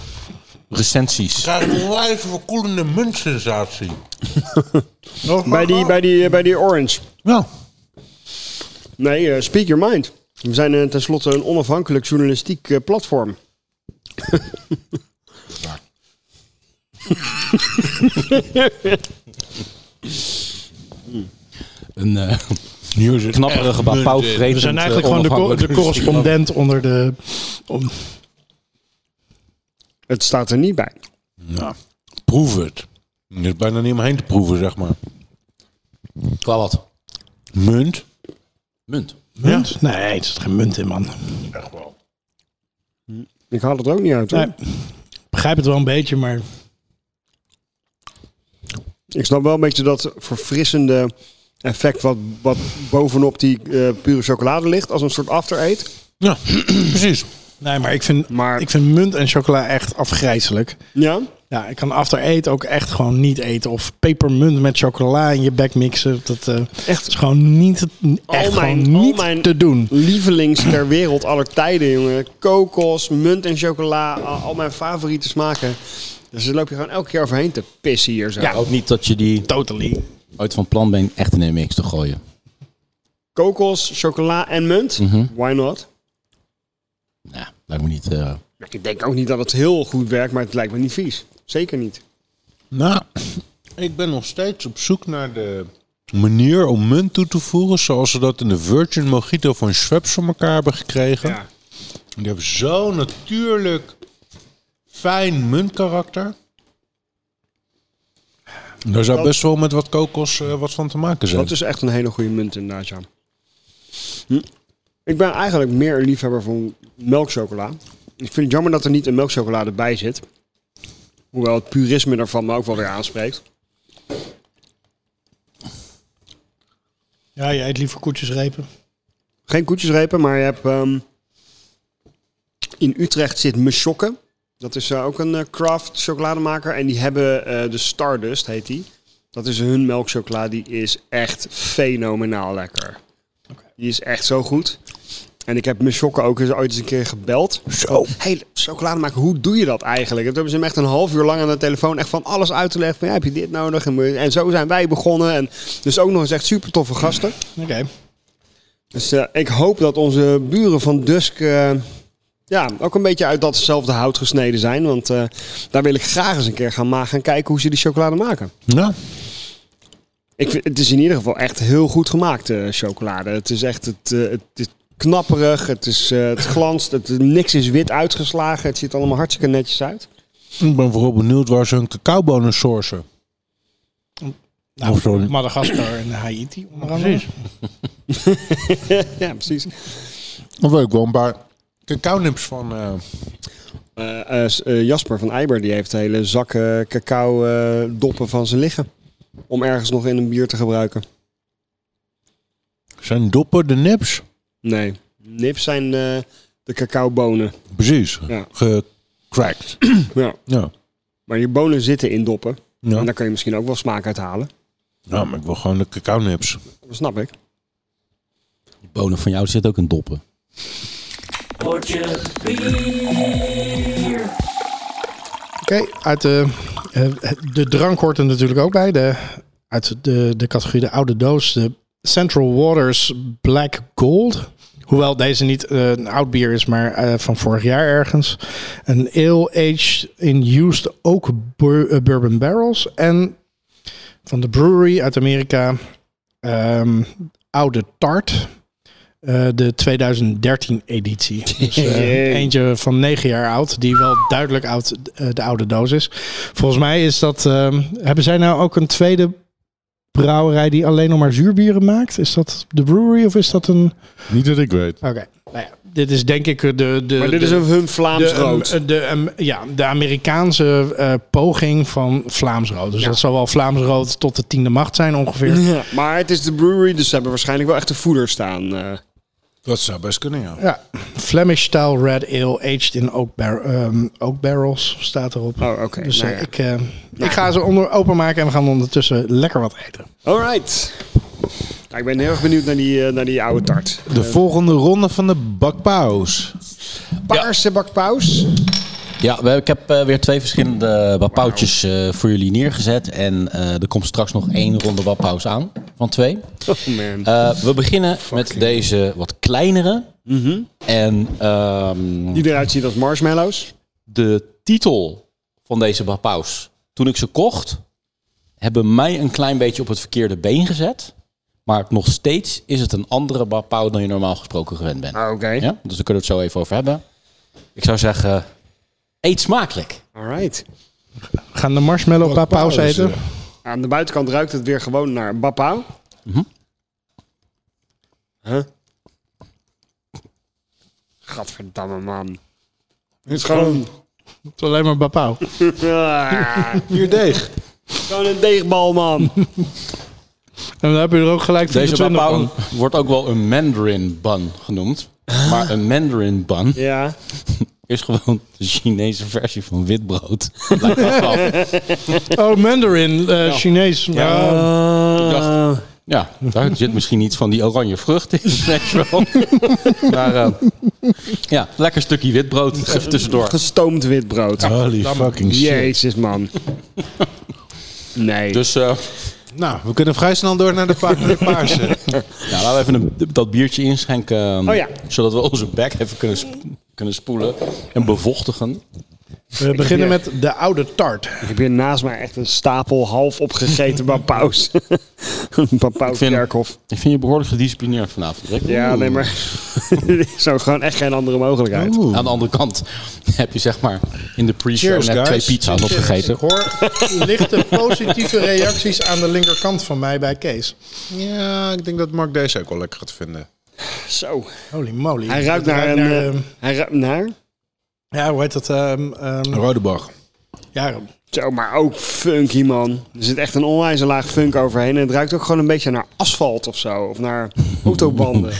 Speaker 1: eh, recensies.
Speaker 5: Daar is een wijze verkoelende muntsensatie.
Speaker 2: bij, die, bij, die, bij die orange.
Speaker 5: Ja.
Speaker 2: Nee, eh, speak your mind. We zijn eh, tenslotte een onafhankelijk journalistiek eh, platform.
Speaker 1: Een eh
Speaker 5: Nieuws is
Speaker 1: knapperige, maar pauwvretend,
Speaker 6: We zijn
Speaker 1: eh,
Speaker 6: eigenlijk gewoon de, co-
Speaker 1: onafhankelijk
Speaker 6: de correspondent onder de... om-
Speaker 2: Het staat er niet bij.
Speaker 5: Ja. Proef het. Er is bijna niet omheen te proeven, zeg maar.
Speaker 1: Qua wat?
Speaker 5: Munt.
Speaker 1: Munt.
Speaker 6: munt? Nee, er zit geen munt in, man.
Speaker 5: Echt wel.
Speaker 2: Ik haal het ook niet uit. hoor.
Speaker 6: Nee. Ik begrijp het wel een beetje, maar...
Speaker 2: Ik snap wel een beetje dat verfrissende effect wat, wat bovenop die eh, pure chocolade ligt. Als een soort after-eat.
Speaker 5: Ja, precies.
Speaker 6: Nee, maar ik vind,
Speaker 2: Maar-
Speaker 6: ik vind munt en chocola echt afgrijzelijk.
Speaker 2: Ja.
Speaker 6: Ja, ik kan after eat ook echt gewoon niet eten. Of pepermunt met chocola in je bek mixen. Dat eh,
Speaker 2: Echt.
Speaker 6: is gewoon niet, echt
Speaker 2: mijn-
Speaker 6: gewoon
Speaker 2: al
Speaker 6: niet
Speaker 2: mijn-
Speaker 6: te doen.
Speaker 2: Lievelings ter wereld aller tijden, jongen. Kokos, munt en chocola. Al, al mijn favoriete smaken. Dus dan loop je gewoon elke keer overheen te pissen hier zo.
Speaker 1: Ja, ook niet dat je die
Speaker 6: Totally.
Speaker 1: uit van plan bent echt in een mix te gooien.
Speaker 2: Kokos, chocola en munt. Why not?
Speaker 1: Nou, lijkt me niet... eh,
Speaker 2: Ik denk ook niet dat het heel goed werkt, maar het lijkt me niet vies. Zeker niet.
Speaker 5: Nou, ik ben nog steeds op zoek naar de manier om munt toe te voegen. Zoals ze dat in de Virgin Mojito van Schweppes voor elkaar hebben gekregen. Die hebben zo natuurlijk fijn muntkarakter. Daar zou best wel met wat kokos eh, wat van te maken zijn.
Speaker 2: Dat is echt een hele goede munt inderdaad, ja. Hm. Ik ben eigenlijk meer een liefhebber van melkchocola. Ik vind het jammer dat er niet een melkchocolade bij zit. Hoewel het purisme daarvan me ook wel weer aanspreekt.
Speaker 6: Ja, je eet liever koetjesrepen.
Speaker 2: Geen koetjesrepen, maar je hebt... ehm, in Utrecht zit Meschokken. Dat is eh, ook een eh, craft chocolademaker. En die hebben eh, de Stardust, heet die. Dat is hun melkchocola. Die is echt fenomenaal lekker. Die is echt zo goed. En ik heb Meschokken ook eens ooit eens een keer gebeld.
Speaker 5: Zo.
Speaker 2: Hey, chocolademaker, hoe doe je dat eigenlijk? En toen hebben ze hem echt een half uur lang aan de telefoon echt van alles uit te leggen. Van, ja, heb je dit nodig? En, moet je- en zo zijn wij begonnen. En dus ook nog eens echt super toffe gasten.
Speaker 6: Oké.
Speaker 2: Dus eh, ik hoop dat onze buren van Dusk eh, ja, ook een beetje uit datzelfde hout gesneden zijn. Want eh, daar wil ik graag eens een keer gaan, ma- gaan kijken hoe ze die chocolade maken.
Speaker 5: Ja,
Speaker 2: Ik vind, het is in ieder geval echt heel goed gemaakt, eh, chocolade. Het is echt het, eh, het is knapperig, het, is, eh, het glanst, het, niks is wit uitgeslagen. Het ziet allemaal hartstikke netjes uit.
Speaker 5: ik ben vooral benieuwd waar ze hun cacaobonen sourcen.
Speaker 6: Nou,
Speaker 5: Oh, sorry.
Speaker 6: Madagaskar en Haiti onder andere.
Speaker 2: ja, precies.
Speaker 5: Dan wil ik wel een paar cacao-nips van... eh,
Speaker 2: Eh, eh, s- eh, Jasper van Eiber die heeft hele zakken cacao eh, doppen van ze liggen. Om ergens nog in een bier te gebruiken.
Speaker 5: zijn doppen de nips?
Speaker 2: Nee, nips zijn eh, de cacaobonen.
Speaker 5: Precies.
Speaker 2: Ja.
Speaker 5: Gecracked.
Speaker 2: Ja.
Speaker 5: ja.
Speaker 2: Maar die bonen zitten in doppen.
Speaker 5: Ja.
Speaker 2: En daar kun je misschien ook wel smaak uit halen.
Speaker 5: ja, maar ik wil gewoon de cacao-nips.
Speaker 2: Dat snap ik.
Speaker 1: die bonen van jou zit ook in doppen.
Speaker 6: Oké, uit de, eh, de drank hoort er natuurlijk ook bij. De, uit de, de categorie de oude doos, de Central Waters Black Gold. Hoewel deze niet eh, een oud bier is, maar eh, van vorig jaar ergens. Een ale aged in used oak bur- eh, bourbon barrels. En van de brewery uit Amerika, ehm, oude tart. eh, de 2013 editie. Dus, eh,
Speaker 2: Jee.
Speaker 6: eentje van 9 jaar oud, die wel duidelijk oud, eh, de oude doos is. Volgens mij is dat. ehm, hebben zij nou ook een tweede brouwerij die alleen nog maar zuurbieren maakt? Is dat de brewery of is dat een.
Speaker 5: Niet dat ik weet.
Speaker 6: Oké, nou ja, dit is denk ik eh, de. de
Speaker 2: Maar dit
Speaker 6: de-
Speaker 2: is een hun Vlaams
Speaker 6: de,
Speaker 2: rood.
Speaker 6: ehm, de, ehm, ja, de Amerikaanse eh, poging van Vlaams rood. Dus dat zal wel Vlaams rood tot de tiende macht zijn ongeveer.
Speaker 2: Ja, maar het is de brewery, dus ze hebben waarschijnlijk wel echt de voeder staan. eh.
Speaker 5: Dat zou best kunnen, ja.
Speaker 6: Ja, Flemish style red ale aged in oak, bar- ehm, oak barrels staat erop.
Speaker 2: Oh, oké,
Speaker 6: Dus
Speaker 2: nou
Speaker 6: eh,
Speaker 2: ja.
Speaker 6: ik, eh, ik ga ze onder openmaken en we gaan ondertussen lekker wat eten.
Speaker 2: Alright. Ja, ik ben heel erg benieuwd naar die, eh, naar die oude tart.
Speaker 5: De volgende ronde van de bakpaus.
Speaker 2: Paarse bakpaus.
Speaker 1: Ja, we- ik heb eh, weer twee verschillende wapoutjes eh, voor jullie neergezet. En eh, er komt straks nog één ronde wapauws aan van twee.
Speaker 2: Oh man.
Speaker 1: Eh, we beginnen met deze wat kleinere. Mhm. En ehm,
Speaker 2: Die eruit ziet als marshmallows.
Speaker 1: de titel van deze wapaus, toen ik ze kocht, hebben mij een klein beetje op het verkeerde been gezet. Maar nog steeds is het een andere wapau dan je normaal gesproken gewend bent.
Speaker 2: Ah, oké.
Speaker 1: Ja? Dus daar kunnen we het zo even over hebben. Ik zou zeggen, eet smakelijk.
Speaker 2: Alright.
Speaker 6: We gaan de marshmallow papaus eten.
Speaker 2: Aan de buitenkant ruikt het weer gewoon naar bapau.
Speaker 1: Mhm.
Speaker 2: Huh? Gadverdamme, man. Het is gewoon...
Speaker 6: Het is alleen maar papau.
Speaker 2: Ah,
Speaker 5: Hier deeg.
Speaker 2: gewoon een deegbal, man.
Speaker 6: En dan heb je er ook gelijk
Speaker 1: Deze
Speaker 6: 24
Speaker 1: papau
Speaker 6: van.
Speaker 1: wordt ook wel een mandarin bun genoemd. Maar een mandarin bun
Speaker 2: ja.
Speaker 1: is gewoon de Chinese versie van witbrood. Lijkt dat wel.
Speaker 6: Oh, mandarin, eh, Chinees. Ja.
Speaker 2: Eh.
Speaker 1: Ja, daar zit misschien iets van die oranje vrucht in. weet je wel. maar eh, ja, lekker stukje witbrood even tussendoor.
Speaker 2: Gestoomd wit brood.
Speaker 5: Holy
Speaker 1: Oh,
Speaker 5: fucking shit.
Speaker 2: Jezus, man. Nee.
Speaker 1: Dus eh,
Speaker 5: Nou, we kunnen vrij snel door naar de, pa- naar de paarse.
Speaker 1: ja, laten we even een- dat biertje inschenken. eh,
Speaker 2: Oh ja.
Speaker 1: Zodat we onze bek even kunnen, sp- kunnen spoelen en bevochtigen.
Speaker 6: We beginnen met de oude tart.
Speaker 2: ik heb hier naast mij echt een stapel half opgegeten bapaus. bapaus
Speaker 1: vind-
Speaker 2: Kerkhof.
Speaker 1: Ik vind je behoorlijk gedisciplineerd vanavond. Rick.
Speaker 2: Ja, nee, maar... er is ook gewoon echt geen andere mogelijkheid.
Speaker 1: Aan de andere kant heb je zeg maar in de pre-show
Speaker 5: Cheers,
Speaker 1: net
Speaker 5: guys.
Speaker 1: twee pizza's opgegeten.
Speaker 6: Ik hoor lichte positieve reacties aan de linkerkant van mij bij Kees.
Speaker 5: Ja, ik denk dat Mark deze ook wel lekker gaat vinden.
Speaker 2: Zo.
Speaker 6: Holy moly.
Speaker 2: Hij ruikt
Speaker 6: Het
Speaker 2: naar een... eh,
Speaker 6: ehm,
Speaker 2: hij ruikt naar...
Speaker 6: ja, hoe heet dat? ehm, ehm,
Speaker 5: Rodebach.
Speaker 6: ja,
Speaker 2: Zo, maar ook funky, man. Er zit echt een onwijs laag funk overheen. En het ruikt ook gewoon een beetje naar asfalt of zo. Of naar autobanden.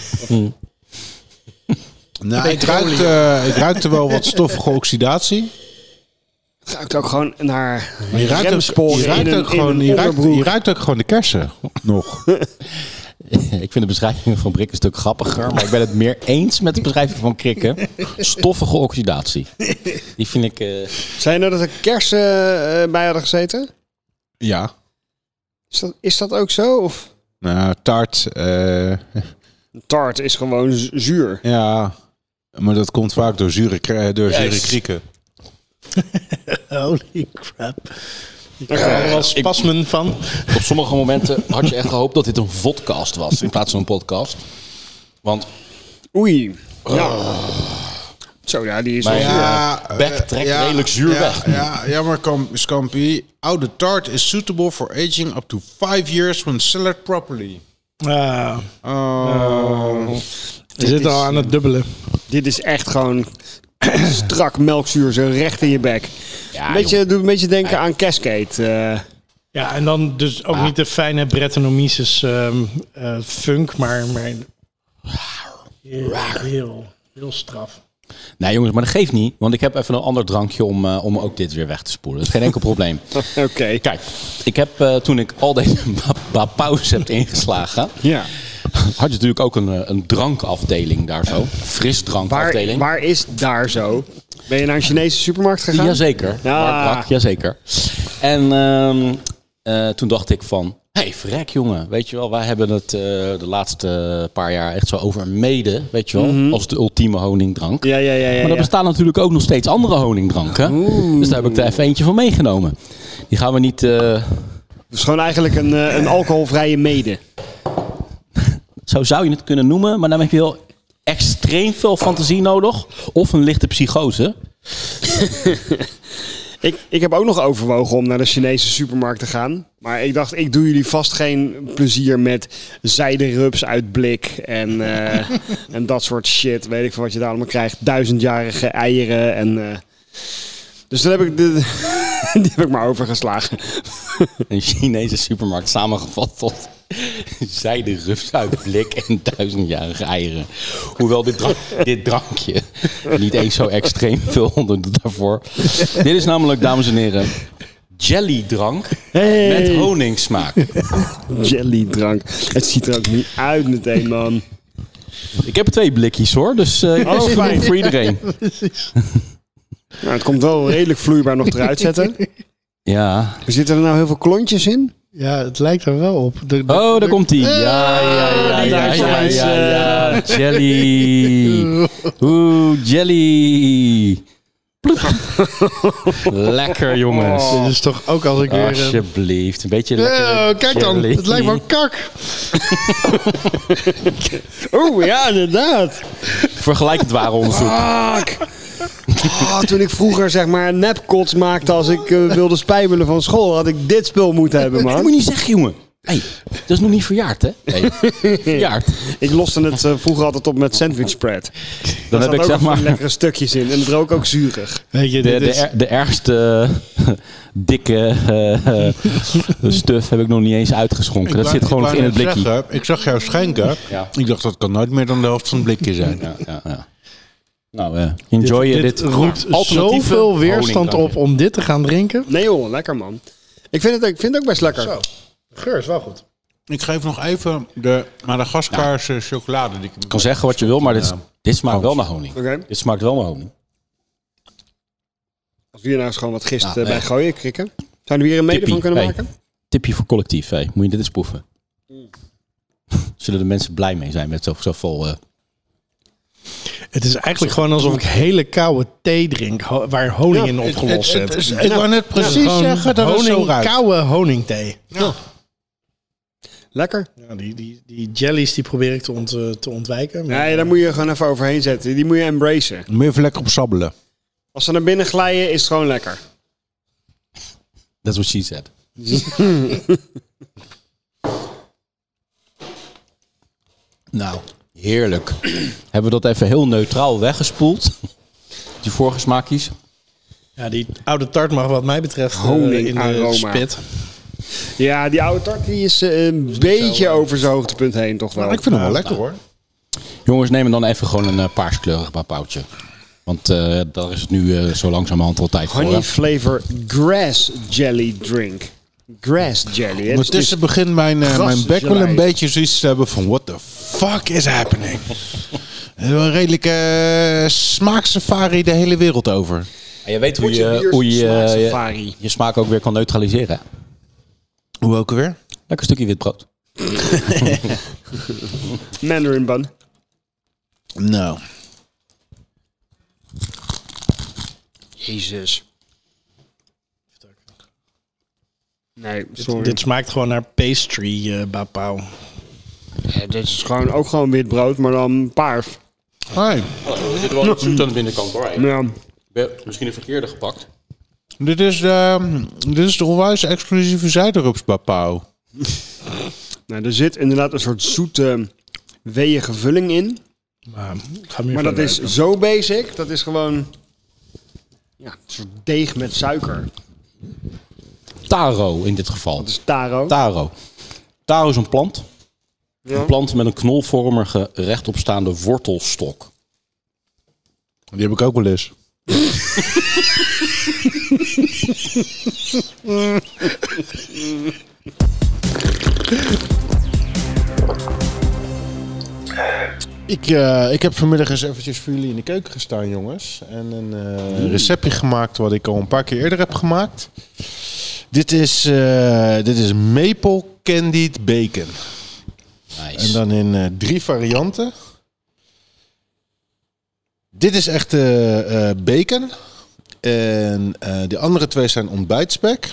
Speaker 5: Nou, ik ruikte, eh, ik ruikte wel wat stoffige oxidatie.
Speaker 2: Het ruikt ook gewoon naar
Speaker 5: Maar je ruikt ook,
Speaker 2: remsporen
Speaker 5: je ruikt
Speaker 2: in een,
Speaker 5: ook gewoon,
Speaker 2: in een
Speaker 5: je ruikt,
Speaker 2: onderbroek.
Speaker 5: je ruikt ook gewoon de kersen. Nog.
Speaker 1: Ik vind de beschrijving van Brik een stuk grappiger, maar ik ben het meer eens met de beschrijving van Krikken. Stoffige oxidatie. Die vind ik. eh,
Speaker 2: Zei je nou dat er kersen eh, bij hadden gezeten?
Speaker 5: Ja.
Speaker 2: Is dat, is dat ook zo? Of?
Speaker 5: Nou, tart. eh,
Speaker 2: Tart is gewoon z- zuur.
Speaker 5: ja. Maar dat komt vaak door zure, kri- eh, door zure
Speaker 1: Juist.
Speaker 5: krieken.
Speaker 6: holy crap. Ik krijg er wel spasmen van.
Speaker 1: op sommige momenten had je echt gehoopt dat dit een vodcast was in plaats van een podcast. Want
Speaker 2: Oei. Ja.
Speaker 5: Oh.
Speaker 2: Zo, ja, die is wel
Speaker 1: Maar
Speaker 2: zuur.
Speaker 1: Ja, bek trekt
Speaker 5: eh,
Speaker 1: redelijk zuur
Speaker 5: ja,
Speaker 1: weg.
Speaker 5: Ja, ja maar Kam- Scampi, oude tart is suitable for aging up to 5 years when cellared properly.
Speaker 6: Ah,
Speaker 5: Oh.
Speaker 6: we zitten al aan het dubbelen.
Speaker 2: Dit is echt gewoon strak melkzuur, zo recht in je bek. een beetje, doet een beetje denken aan Cascade. eh.
Speaker 6: Ja, en dan dus ook niet de fijne Brettanomyces ehm, eh, funk, maar, maar heel, heel, heel straf.
Speaker 1: Nee jongens, maar dat geeft niet, want ik heb even een ander drankje om, eh, om ook dit weer weg te spoelen. Dat is geen enkel probleem.
Speaker 2: Oké.
Speaker 1: Kijk, ik heb eh, toen ik al deze ba- ba- pauze heb ingeslagen,
Speaker 2: Ja.
Speaker 1: had je natuurlijk ook een, eh, een drankafdeling daar zo.
Speaker 2: Waar,
Speaker 1: Frisdrankafdeling.
Speaker 2: waar is daar zo? Ben je naar een Chinese supermarkt gegaan?
Speaker 1: Jazeker.
Speaker 2: Ja.
Speaker 1: Mark Brak, jazeker. En ehm, eh, toen dacht ik van... Hé, hey, verrek jongen. Weet je wel, wij hebben het eh, de laatste paar jaar echt zo over mede. Weet je wel, als de ultieme honingdrank.
Speaker 2: Mhm. Ja, ja, ja. ja,
Speaker 1: Maar er
Speaker 2: ja.
Speaker 1: bestaan natuurlijk ook nog steeds andere honingdranken. Dus daar heb ik er even eentje van meegenomen. Die gaan we niet... eh,
Speaker 2: Dus gewoon eigenlijk een, eh, een alcoholvrije mede.
Speaker 1: Zo zou je het kunnen noemen, maar dan heb je wel extreem veel fantasie nodig. Of een lichte psychose.
Speaker 2: Ik, ik heb ook nog overwogen om naar de Chinese supermarkt te gaan. Maar ik dacht, ik doe jullie vast geen plezier met zijderups uit blik en, eh, en dat soort shit. Weet ik veel wat je daar allemaal krijgt. Duizendjarige eieren en... eh, dus toen heb ik de, die heb ik maar overgeslagen.
Speaker 1: Een Chinese supermarkt samengevat tot zijde rups uit blik en duizendjarige eieren. Hoewel dit, drank- dit drankje niet eens zo extreem veel onder doet daarvoor. Dit is namelijk, dames en heren, jellydrank
Speaker 2: Hey.
Speaker 1: met honingsmaak.
Speaker 2: Jellydrank. Het ziet er ook niet uit meteen, man.
Speaker 1: Ik heb er twee blikjes hoor, dus eh
Speaker 2: Oh,
Speaker 1: het is
Speaker 2: fijn.
Speaker 1: voor iedereen.
Speaker 2: Nou, het komt wel redelijk vloeibaar nog eruit zetten.
Speaker 1: Ja.
Speaker 2: Zitten er nou heel veel klontjes in?
Speaker 6: Ja, het lijkt er wel op. De- de-
Speaker 1: Oh, daar komt ie. Ja, ja, ja,
Speaker 2: die
Speaker 1: ja,
Speaker 2: daar
Speaker 1: ja,
Speaker 2: is,
Speaker 1: ja,
Speaker 2: eh.
Speaker 1: ja. Jelly. Oeh, jelly. Ploep. Lekker jongens.
Speaker 6: Oh, Dit is toch ook als ik weer... eh,
Speaker 1: Alsjeblieft, een beetje
Speaker 6: eh,
Speaker 1: Oh. Ah, lekker.
Speaker 6: kijk dan,
Speaker 1: jelly.
Speaker 6: het lijkt wel kak.
Speaker 2: Oeh, ja, inderdaad.
Speaker 1: Vergelijkend ware onderzoek.
Speaker 2: Fuck. Ah, toen ik vroeger zeg maar nepkots maakte als ik eh, wilde spijbelen van school, had ik dit spul moeten hebben,
Speaker 1: Dat moet
Speaker 2: man.
Speaker 1: je niet zeggen, jongen. hey, dat is nog niet verjaard, hè? Hey, verjaard.
Speaker 2: Ik loste het eh, vroeger altijd op met sandwich spread.
Speaker 1: Dan heb
Speaker 2: Daar
Speaker 1: ik zeg
Speaker 2: ook van die
Speaker 1: maar
Speaker 2: lekkere stukjes in en het rook ook zuurig.
Speaker 6: Weet je,
Speaker 1: De,
Speaker 6: dit
Speaker 1: de,
Speaker 6: is...
Speaker 1: er- de ergste eh, dikke eh, eh, stuf heb ik nog niet eens uitgeschonken. Dat
Speaker 5: Ik wou-
Speaker 1: zit gewoon
Speaker 5: ik
Speaker 1: nog in
Speaker 5: wou
Speaker 1: het
Speaker 5: net
Speaker 1: blikje.
Speaker 5: zeggen, ik zag jou schenken.
Speaker 1: Ja.
Speaker 5: Ik dacht, dat kan nooit meer dan de helft van het blikje zijn.
Speaker 1: Ja, ja, ja. Nou, eh, enjoy je dit.
Speaker 6: dit roept
Speaker 1: alternatieve
Speaker 6: zoveel weerstand op
Speaker 1: honingdrankje.
Speaker 6: om dit te gaan drinken.
Speaker 2: Nee joh, lekker man. Ik vind het, ik vind het ook best lekker.
Speaker 6: De geur is wel goed.
Speaker 5: Ik geef nog even de Madagaskaarse chocolade. Die ik
Speaker 1: Ik kan zeggen wat je wil, maar dit, dit smaakt wel naar honing.
Speaker 2: Oké.
Speaker 1: Dit smaakt wel naar honing.
Speaker 2: Als we hier nou eens gewoon wat gist
Speaker 1: Ja,
Speaker 2: eh, bij
Speaker 1: nee.
Speaker 2: gooien, krikken. Zouden we hier een mede
Speaker 1: Tippie,
Speaker 2: van kunnen
Speaker 1: hey.
Speaker 2: maken?
Speaker 1: Tipje voor collectief, hé. moet je dit eens proeven. Zullen de mensen blij mee zijn met zo, zo vol... eh,
Speaker 6: Het is eigenlijk gewoon alsof ik hele koude thee drink ho- waar honing in opgelost
Speaker 5: Het- het-
Speaker 6: zit.
Speaker 5: het- Ik wou net precies
Speaker 6: Gewoon
Speaker 5: zeggen dat het zo
Speaker 6: honing,
Speaker 5: ruikt.
Speaker 6: koude honingthee.
Speaker 2: Lekker.
Speaker 6: Ja, die, die, die jellies die probeer ik te, ont, eh, te ontwijken. maar-
Speaker 2: Nee, daar moet je gewoon even overheen zetten. Die moet je embracen.
Speaker 5: Moet je even lekker op sabbelen.
Speaker 2: Als ze naar binnen glijden, is het gewoon lekker.
Speaker 1: That's what she said. nou, heerlijk. Hebben we dat even heel neutraal weggespoeld? Die vorige smaakjes.
Speaker 6: Ja, die oude tart mag wat mij betreft eh,
Speaker 2: Honing,
Speaker 6: in de
Speaker 2: aroma.
Speaker 6: spit.
Speaker 2: Ja, die oude tart die is eh, een beetje over zijn hoogtepunt heen, toch wel.
Speaker 5: Ik vind hem wel lekker hoor.
Speaker 1: Jongens, neem er dan even gewoon een eh, paarskleurig papauwtje. Want eh, daar is het nu eh, zo langzamerhand wel tijd voor.
Speaker 2: Honey
Speaker 1: hè?
Speaker 2: flavor grass jelly drink. Grass jelly. Hè? Dus het is-
Speaker 5: Ondertussen begint mijn, eh,
Speaker 2: gras
Speaker 5: mijn bek wel
Speaker 2: gelei.
Speaker 5: een beetje zoiets te hebben van... What the fuck is happening? Het is wel een redelijke eh, smaaksafari de hele wereld over.
Speaker 1: En je weet hoe je hoe je, eh, je, je smaak ook weer kan neutraliseren. hè?
Speaker 5: Hoe ook weer?
Speaker 1: Lekker stukje wit brood.
Speaker 2: Mandarin bun.
Speaker 5: Nou,
Speaker 2: Jezus. Nee, sorry.
Speaker 6: Dit, dit smaakt gewoon naar pastry, eh bapau.
Speaker 2: Ja, Eh, dit is gewoon, ook gewoon wit brood, maar dan paars.
Speaker 5: Hoi.
Speaker 1: Oh, Er zit wel wat zoet aan de binnenkant hoor.
Speaker 2: Ja.
Speaker 1: Misschien een verkeerde gepakt.
Speaker 5: Dit is de, ehm, dit is de onwijs exclusieve zijderupsbapau.
Speaker 2: Nou, er zit inderdaad een soort zoete, eh, weeige vulling in.
Speaker 6: Maar, ga meer
Speaker 2: Maar dat
Speaker 6: verder.
Speaker 2: is zo basic. Dat is gewoon ja, een soort deeg met suiker.
Speaker 1: Taro in dit geval.
Speaker 2: Dat is taro.
Speaker 1: Taro. Taro is een plant.
Speaker 2: Ja.
Speaker 1: Een plant met een knolvormige, rechtopstaande wortelstok.
Speaker 5: Die heb ik ook wel eens. Ik, eh, ik heb vanmiddag eens eventjes voor jullie in de keuken gestaan, jongens. En een eh, receptje gemaakt wat ik al een paar keer eerder heb gemaakt. Dit is, eh, dit is maple candied bacon. En
Speaker 1: Nice.
Speaker 5: dan in eh, drie varianten. Dit is echt eh, eh, bacon. En eh de andere twee zijn ontbijtspek.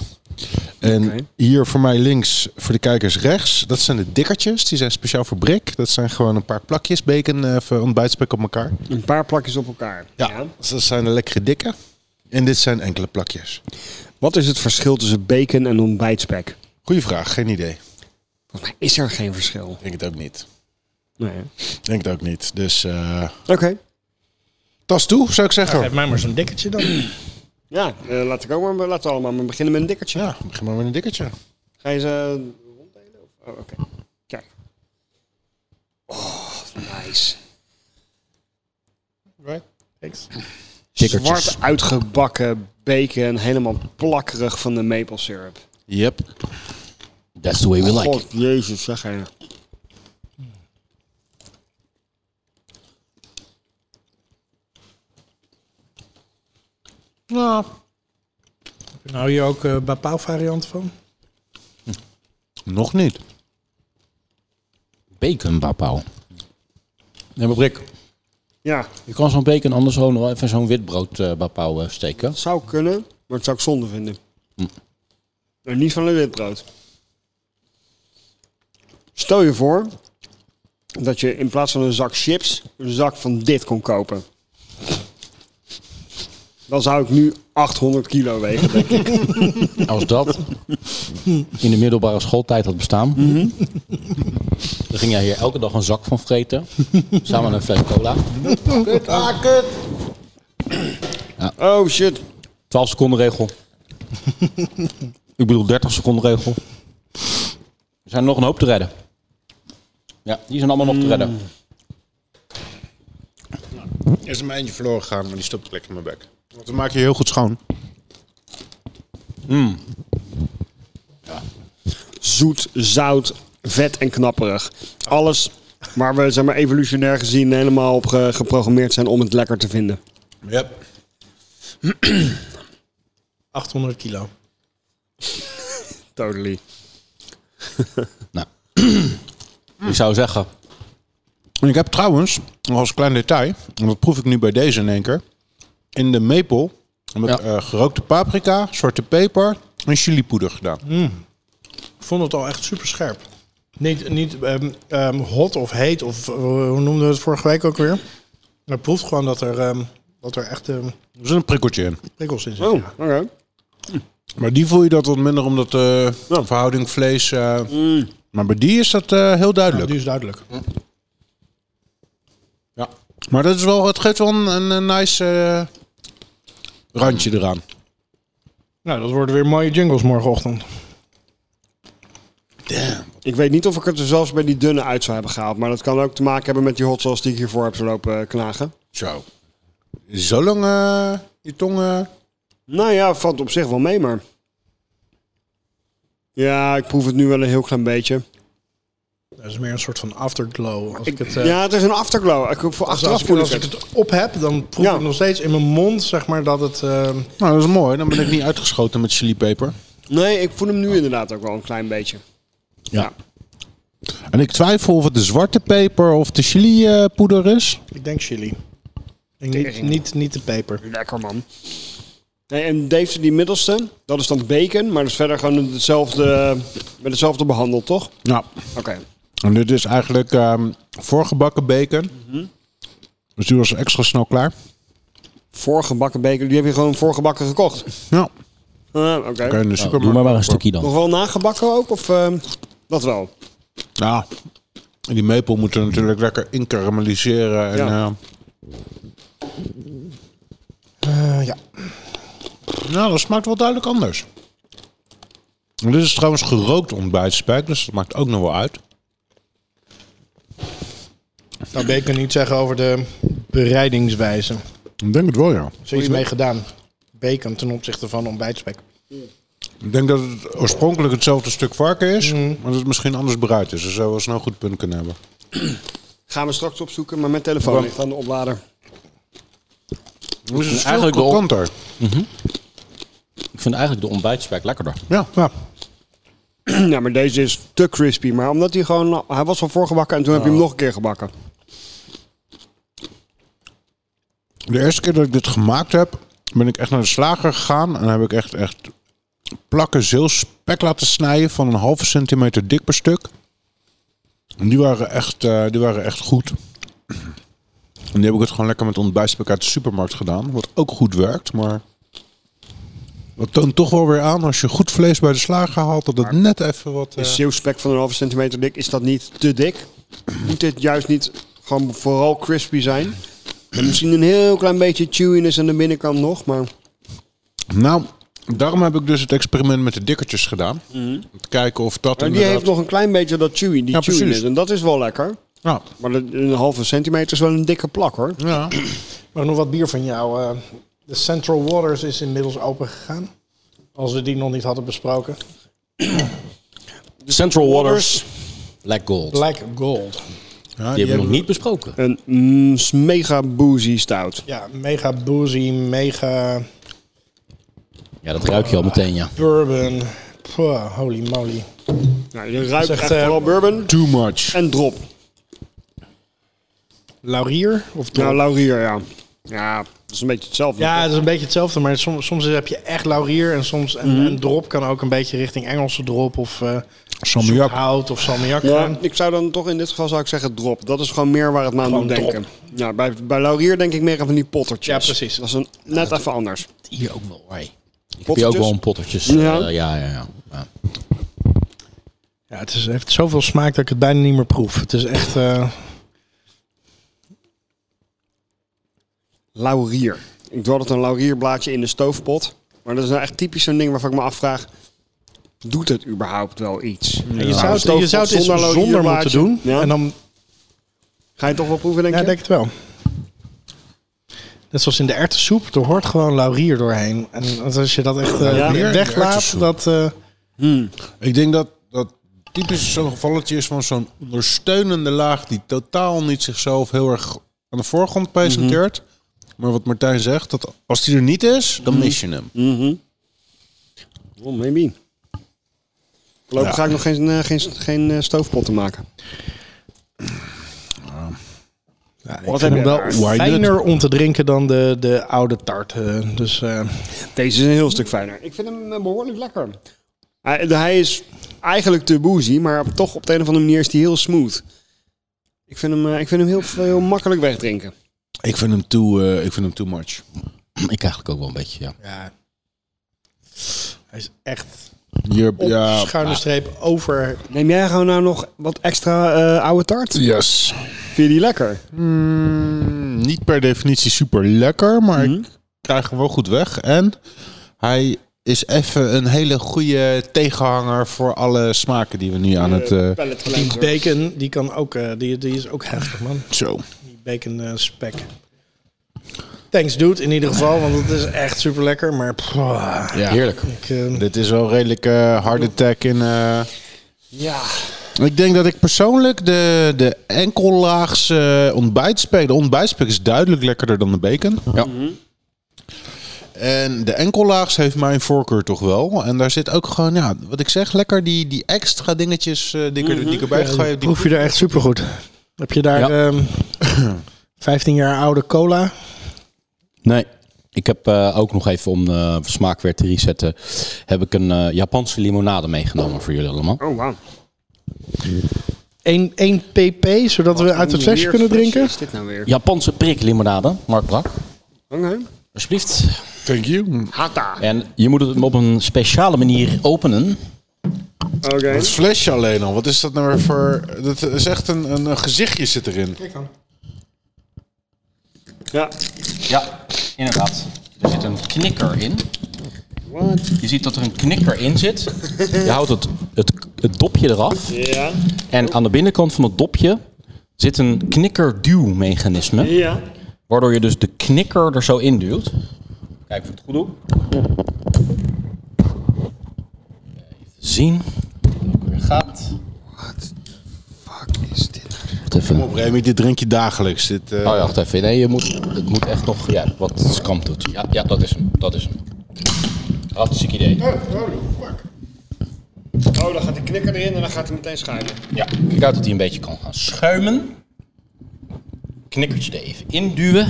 Speaker 5: En
Speaker 2: Oké.
Speaker 5: hier voor mij links, voor de kijkers rechts, dat zijn de dikkertjes. Die zijn speciaal voor Brik. Dat zijn gewoon een paar plakjes bacon, eh, even ontbijtspek op elkaar.
Speaker 2: Een paar plakjes op elkaar.
Speaker 5: Ja, dus dat zijn de lekkere dikke. En dit zijn enkele plakjes.
Speaker 2: Wat is het verschil tussen bacon en ontbijtspek?
Speaker 5: Goeie vraag, geen idee.
Speaker 2: Volgens mij is er geen verschil.
Speaker 5: Ik Denk het ook niet.
Speaker 2: Nee. hè?
Speaker 5: Ik Denk het ook niet. Dus eh,
Speaker 2: Oké.
Speaker 5: tas toe, zou ik zeggen.
Speaker 6: Geef mij maar zo'n dikkertje dan.
Speaker 2: Ja, eh, laat ik ook maar, laten we allemaal maar beginnen met een dikkertje.
Speaker 5: Ja, begin maar met een dikkertje.
Speaker 2: Ga je ze eh, ronddelen? of- Oh, oké. Kijk. Oh, nice.
Speaker 5: Right.
Speaker 1: Tikkertjes.
Speaker 2: Zwart uitgebakken bacon, helemaal plakkerig van de maple syrup.
Speaker 1: Yep. That's the way we like. it.
Speaker 2: God, jezus, zeg hij.
Speaker 6: Nou. Heb je nou hier ook eh Bapaal varianten van?
Speaker 5: Nog niet.
Speaker 1: Bacon papau. Nee, maar Brik,
Speaker 2: Ja,
Speaker 1: je kan zo'n bacon anders gewoon nog wel even zo'n witbrood eh bapau eh, steken.
Speaker 2: het zou kunnen, maar het zou ik zonde vinden. En Hm. niet van een witbrood. Stel je voor dat je in plaats van een zak chips een zak van dit kon kopen. Dan zou ik nu 800 kilo wegen. denk ik.
Speaker 1: Als dat in de middelbare schooltijd had bestaan, dan ging jij hier elke dag een zak van vreten. samen met een fles cola.
Speaker 2: Oh shit.
Speaker 1: 12 seconden regel. Ik bedoel 30 seconden regel. Er zijn nog een hoop te redden. Mm. Ja, die zijn allemaal nog te redden.
Speaker 5: Er is een eindje verloren gegaan, maar die stopt lekker in mijn bek. Want we maken je heel goed schoon.
Speaker 2: Zoet, zout, vet en knapperig. Alles waar we zeg maar, evolutionair gezien helemaal op ge- geprogrammeerd zijn om het lekker te vinden.
Speaker 5: Yep.
Speaker 6: 800 kilo.
Speaker 2: Totally.
Speaker 1: Nou. ik zou zeggen,
Speaker 5: En ik heb trouwens, nog als klein detail, en dat proef ik nu bij deze in één keer. In de maple heb ik
Speaker 1: Ja.
Speaker 5: eh, gerookte paprika, zwarte peper en chilipoeder gedaan.
Speaker 6: Ik vond het al echt super scherp. Niet, niet ehm, ehm, hot of heet of eh, hoe noemden we het vorige week ook weer. Maar het proeft gewoon dat er, ehm, dat er echt ehm,
Speaker 5: Er zit een prikkeltje in.
Speaker 6: prikkels in zitten.
Speaker 2: Oh, oké.
Speaker 5: Maar die voel je dat wat minder omdat de verhouding vlees... eh, Maar bij die is dat eh, heel
Speaker 2: Oh.
Speaker 6: Ja,
Speaker 5: duidelijk.
Speaker 6: die is duidelijk.
Speaker 5: Maar dat is wel, het geeft wel een, een, een nice eh, randje eraan.
Speaker 6: Nou, dat worden weer mooie jingles morgenochtend.
Speaker 2: Ik weet niet of ik het er zelfs bij die dunne uit zou hebben gehaald. Maar dat kan ook te maken hebben met die hot sauce die ik hiervoor heb lopen eh, knagen.
Speaker 5: Zo. Zolang eh, je tong... eh,
Speaker 2: Nou ja, valt op zich wel mee, maar... Ja, ik proef het nu wel een heel klein beetje.
Speaker 6: Dat is meer een soort van afterglow. Als ik, het, eh,
Speaker 2: Ja, het is een afterglow. Ik, voor
Speaker 6: als, als
Speaker 2: achteraf
Speaker 6: ik,
Speaker 2: voel ik
Speaker 6: als ik
Speaker 2: het.
Speaker 6: het op heb, dan proef
Speaker 2: Ja.
Speaker 6: ik nog steeds in mijn mond, zeg maar, dat het... ehm,
Speaker 5: nou, dat is mooi. Dan ben ik niet uitgeschoten met chilipeper.
Speaker 2: Nee, ik voel hem nu inderdaad ook wel een klein beetje. Ja.
Speaker 5: En ik twijfel of het de zwarte peper of de chilipoeder is.
Speaker 6: ik denk chili. Ik denk niet,
Speaker 2: Tering.
Speaker 6: niet, niet de peper.
Speaker 2: Lekker, man. Nee, en deze, die middelste, dat is dan bacon. Maar dat is verder gewoon hetzelfde, eh, met hetzelfde behandeld, toch?
Speaker 5: Ja.
Speaker 2: Oké.
Speaker 5: En dit is eigenlijk ehm, voorgebakken bacon. Dus die was extra snel klaar.
Speaker 2: Voorgebakken bacon, die heb je gewoon voorgebakken gekocht.
Speaker 5: Ja.
Speaker 2: Ah,
Speaker 5: Kan je
Speaker 2: Oké.
Speaker 5: in de
Speaker 1: nou, doe maar
Speaker 5: supermarkt.
Speaker 1: maar een stukje dan.
Speaker 2: Nog wel nagebakken ook? Of ehm, dat wel?
Speaker 5: Ja. En die maple moet er natuurlijk lekker in karamelliseren. En, eh,
Speaker 2: Ja.
Speaker 5: ja.
Speaker 6: Eh, ja.
Speaker 5: nou, dat smaakt wel duidelijk anders. En dit is trouwens gerookt ontbijtspek, dus dat maakt ook nog wel uit.
Speaker 6: Nou, Beek niet zeggen over de bereidingswijze.
Speaker 5: Ik denk het wel, ja.
Speaker 6: zoiets mee gedaan. Bacon ten opzichte van ontbijtspek.
Speaker 5: Ik denk dat het oorspronkelijk hetzelfde stuk varken is, maar dat het misschien anders bereid is. Dus zou wel eens een heel goed punt kunnen hebben.
Speaker 2: Gaan we straks opzoeken, maar mijn telefoon ligt aan de oplader.
Speaker 5: Dus het is
Speaker 1: Eigenlijk
Speaker 5: eigenlijk
Speaker 1: wel-
Speaker 5: veel kanter.
Speaker 1: Ik vind eigenlijk de ontbijtspek lekkerder.
Speaker 5: Ja.
Speaker 6: Ja,
Speaker 2: ja, maar deze is te crispy. Maar omdat hij gewoon... Hij was al voorgebakken en toen heb je hem nog een keer gebakken.
Speaker 5: De eerste keer dat ik dit gemaakt heb, ben ik echt naar de slager gegaan en heb ik echt, echt plakken zeelspek laten snijden van een halve centimeter dik per stuk. En die waren echt, eh, die waren echt goed. En die heb ik het gewoon lekker met ontbijtspek uit de supermarkt gedaan. Wat ook goed werkt, maar... Dat toont toch wel weer aan, als je goed vlees bij de slager haalt, dat het net even wat... eh,
Speaker 2: Is zeeuwspek van een halve centimeter dik, is dat niet te dik? Moet dit juist niet gewoon vooral crispy zijn? En misschien een heel klein beetje chewiness aan de binnenkant nog, maar...
Speaker 5: Nou, daarom heb ik dus het experiment met de dikkertjes gedaan. Om te kijken of dat
Speaker 2: Mhm. Maar die
Speaker 5: inderdaad...
Speaker 2: heeft nog een klein beetje dat chewy, die
Speaker 5: Ja, precies.
Speaker 2: chewiness. En dat is wel lekker.
Speaker 5: Ja,
Speaker 2: Maar dat- een halve centimeter is wel een dikke plak, hoor.
Speaker 5: Nou, ja.
Speaker 6: Maar nog wat bier van jou. eh. de Central Waters is inmiddels open gegaan. Als we die nog niet hadden besproken.
Speaker 1: Central Waters. Black Gold. Die,
Speaker 6: Black Gold.
Speaker 5: ja
Speaker 1: hebben we nog niet besproken.
Speaker 2: Een mm, mega boozy stout.
Speaker 6: Ja, mega boozy, mega
Speaker 1: Ja, dat ruik je al meteen, ja.
Speaker 6: bourbon. Pwah, holy moly.
Speaker 2: Nou, je ruikt
Speaker 6: Zegt,
Speaker 2: echt
Speaker 6: eh,
Speaker 2: vooral bourbon
Speaker 5: Too much.
Speaker 2: en drop.
Speaker 6: Laurier? Of
Speaker 2: Nou, laurier, ja. Ja, dat is een beetje hetzelfde.
Speaker 6: ja, het is een beetje hetzelfde, maar soms, soms heb je echt laurier en soms en,
Speaker 2: Mhm.
Speaker 6: en drop kan ook een beetje richting Engelse drop of eh
Speaker 5: Salmiak.
Speaker 6: hout of salmiak.
Speaker 2: Ja,
Speaker 6: gaan.
Speaker 2: ik zou dan toch in dit geval zou ik zeggen drop. Dat is gewoon meer waar het me aan
Speaker 6: Gewoon
Speaker 2: moet denken. Ja, bij, bij Laurier denk ik meer aan van die pottertjes.
Speaker 6: Ja, precies.
Speaker 2: Dat is een, net even anders.
Speaker 1: Hier ook wel. Hey. Ik heb hier
Speaker 2: Pottertjes?
Speaker 1: ook wel een pottertjes.
Speaker 2: Ja.
Speaker 1: eh, ja, ja, ja. ja.
Speaker 6: Ja, het is, heeft zoveel smaak dat ik het bijna niet meer proef. Het is echt... eh,
Speaker 2: Laurier. Ik doe altijd een laurierblaadje in de stoofpot. Maar dat is nou echt typisch zo'n ding waarvan ik me afvraag... Doet het überhaupt wel iets?
Speaker 6: je, zou het, je
Speaker 2: stoofpot
Speaker 6: zou het eens zonder,
Speaker 2: zonder
Speaker 6: moeten
Speaker 2: laurierblaadje.
Speaker 6: doen.
Speaker 2: Ja.
Speaker 6: En dan,
Speaker 2: Ga je het toch wel proeven, denk
Speaker 6: ja,
Speaker 2: je?
Speaker 6: denk het wel. Net zoals in de erwtensoep, er hoort gewoon laurier doorheen. En als je dat echt eh,
Speaker 2: Ja, in de
Speaker 6: weglaat,
Speaker 5: erwtensoep.
Speaker 6: dat... eh,
Speaker 5: Ik denk dat dat typisch zo'n gevalletje is van zo'n ondersteunende laag die totaal niet zichzelf heel erg aan de
Speaker 2: Mhm.
Speaker 5: voorgrond presenteert. Maar wat Martijn zegt, dat als die er niet is,
Speaker 2: Mhm.
Speaker 5: dan mis je hem.
Speaker 2: Oh, maybe. Voorlopig ga ik nog geen, eh, geen, geen eh, stoofpotten maken.
Speaker 6: Ik vind hem wel
Speaker 5: Why not?
Speaker 6: fijner om te drinken dan de, de oude tart. eh, Dus eh,
Speaker 2: Deze is een heel stuk fijner. Ik vind hem eh, behoorlijk lekker. Hij, de- hij is eigenlijk te boozy, maar toch op de een of andere manier is hij heel smooth. Ik vind hem, eh, ik vind hem heel, heel makkelijk wegdrinken.
Speaker 5: Ik vind hem too, eh, ik vind hem too much.
Speaker 1: Ik eigenlijk ook wel een beetje, ja.
Speaker 6: ja. Hij is echt
Speaker 5: Hier,
Speaker 6: op
Speaker 5: ja,
Speaker 6: schuine streep over.
Speaker 2: Neem jij gewoon nou nog wat extra eh, oude tart?
Speaker 5: yes.
Speaker 2: Vind je die lekker?
Speaker 5: Mm, niet per definitie super lekker, maar ik krijg hem wel goed weg. En hij is even een hele goede tegenhanger voor alle smaken die we nu aan het... eh,
Speaker 2: Pallet
Speaker 6: Die
Speaker 2: cleanser.
Speaker 6: bacon, die kan ook, eh, die, die is ook heftig man.
Speaker 5: zo.
Speaker 6: Die bacon eh, spek. Thanks dude in ieder geval, want het is echt super lekker. Maar pwah,
Speaker 5: Ja.
Speaker 1: Heerlijk.
Speaker 6: ik, eh,
Speaker 5: Dit is wel redelijk eh hard attack in... eh,
Speaker 2: Ja.
Speaker 5: Ik denk dat ik persoonlijk de, de enkellaagse ontbijtspek... De ontbijtspek is duidelijk lekkerder dan de bacon.
Speaker 1: Ja.
Speaker 5: En de enkellaags heeft mijn voorkeur toch wel. En daar zit ook gewoon, ja, wat ik zeg, lekker die, die extra dingetjes eh die, ik er- die ik
Speaker 6: Mhm.
Speaker 5: erbij gegooid heb. die-
Speaker 6: proef je er echt super goed. Heb je daar
Speaker 1: Ja.
Speaker 6: ehm, 15 jaar oude cola?
Speaker 1: Nee. Ik heb eh, ook nog even om de smaak weer te resetten. Heb ik een eh, Japanse limonade meegenomen voor jullie allemaal.
Speaker 2: Oh, wauw.
Speaker 6: 1, 1 pp, zodat we uit het flesje
Speaker 2: Hoe
Speaker 6: kunnen
Speaker 2: meer flesje
Speaker 6: drinken?
Speaker 2: is dit nou weer?
Speaker 1: Japanse priklimonade, Mark Brak.
Speaker 2: Oké.
Speaker 1: Alsjeblieft.
Speaker 5: Thank you.
Speaker 2: Hata.
Speaker 1: En je moet het op een speciale manier openen.
Speaker 2: Oké.
Speaker 5: Het flesje alleen al, wat is dat nou weer voor... Dat is echt een, een, een gezichtje zit erin.
Speaker 2: Ja.
Speaker 1: Ja, inderdaad. Er zit een knikker in.
Speaker 2: What?
Speaker 1: Je ziet dat er een knikker in zit. Je houdt het, het, het dopje eraf.
Speaker 2: Ja.
Speaker 1: En aan de binnenkant van het dopje zit een knikkerduwmechanisme.
Speaker 2: Ja.
Speaker 1: Waardoor je dus de knikker er zo in duwt. Kijk of ik het goed doe. Even zien. Hoe het gaat.
Speaker 2: Fuck is dit?
Speaker 1: Wacht even. Oh
Speaker 5: Op Remy, dit drink je dagelijks. Dit, eh,
Speaker 1: ja, wacht even. Nee, je moet, het moet echt nog... Ja, wat Skam doet. Ja, ja, dat is hem. Dat is hem. Hartstikke idee.
Speaker 2: Oh, dan gaat de knikker erin en dan gaat hij meteen schuiven.
Speaker 1: Ja, kijk uit dat hij een beetje kan gaan schuimen. Knikkertje er even induwen.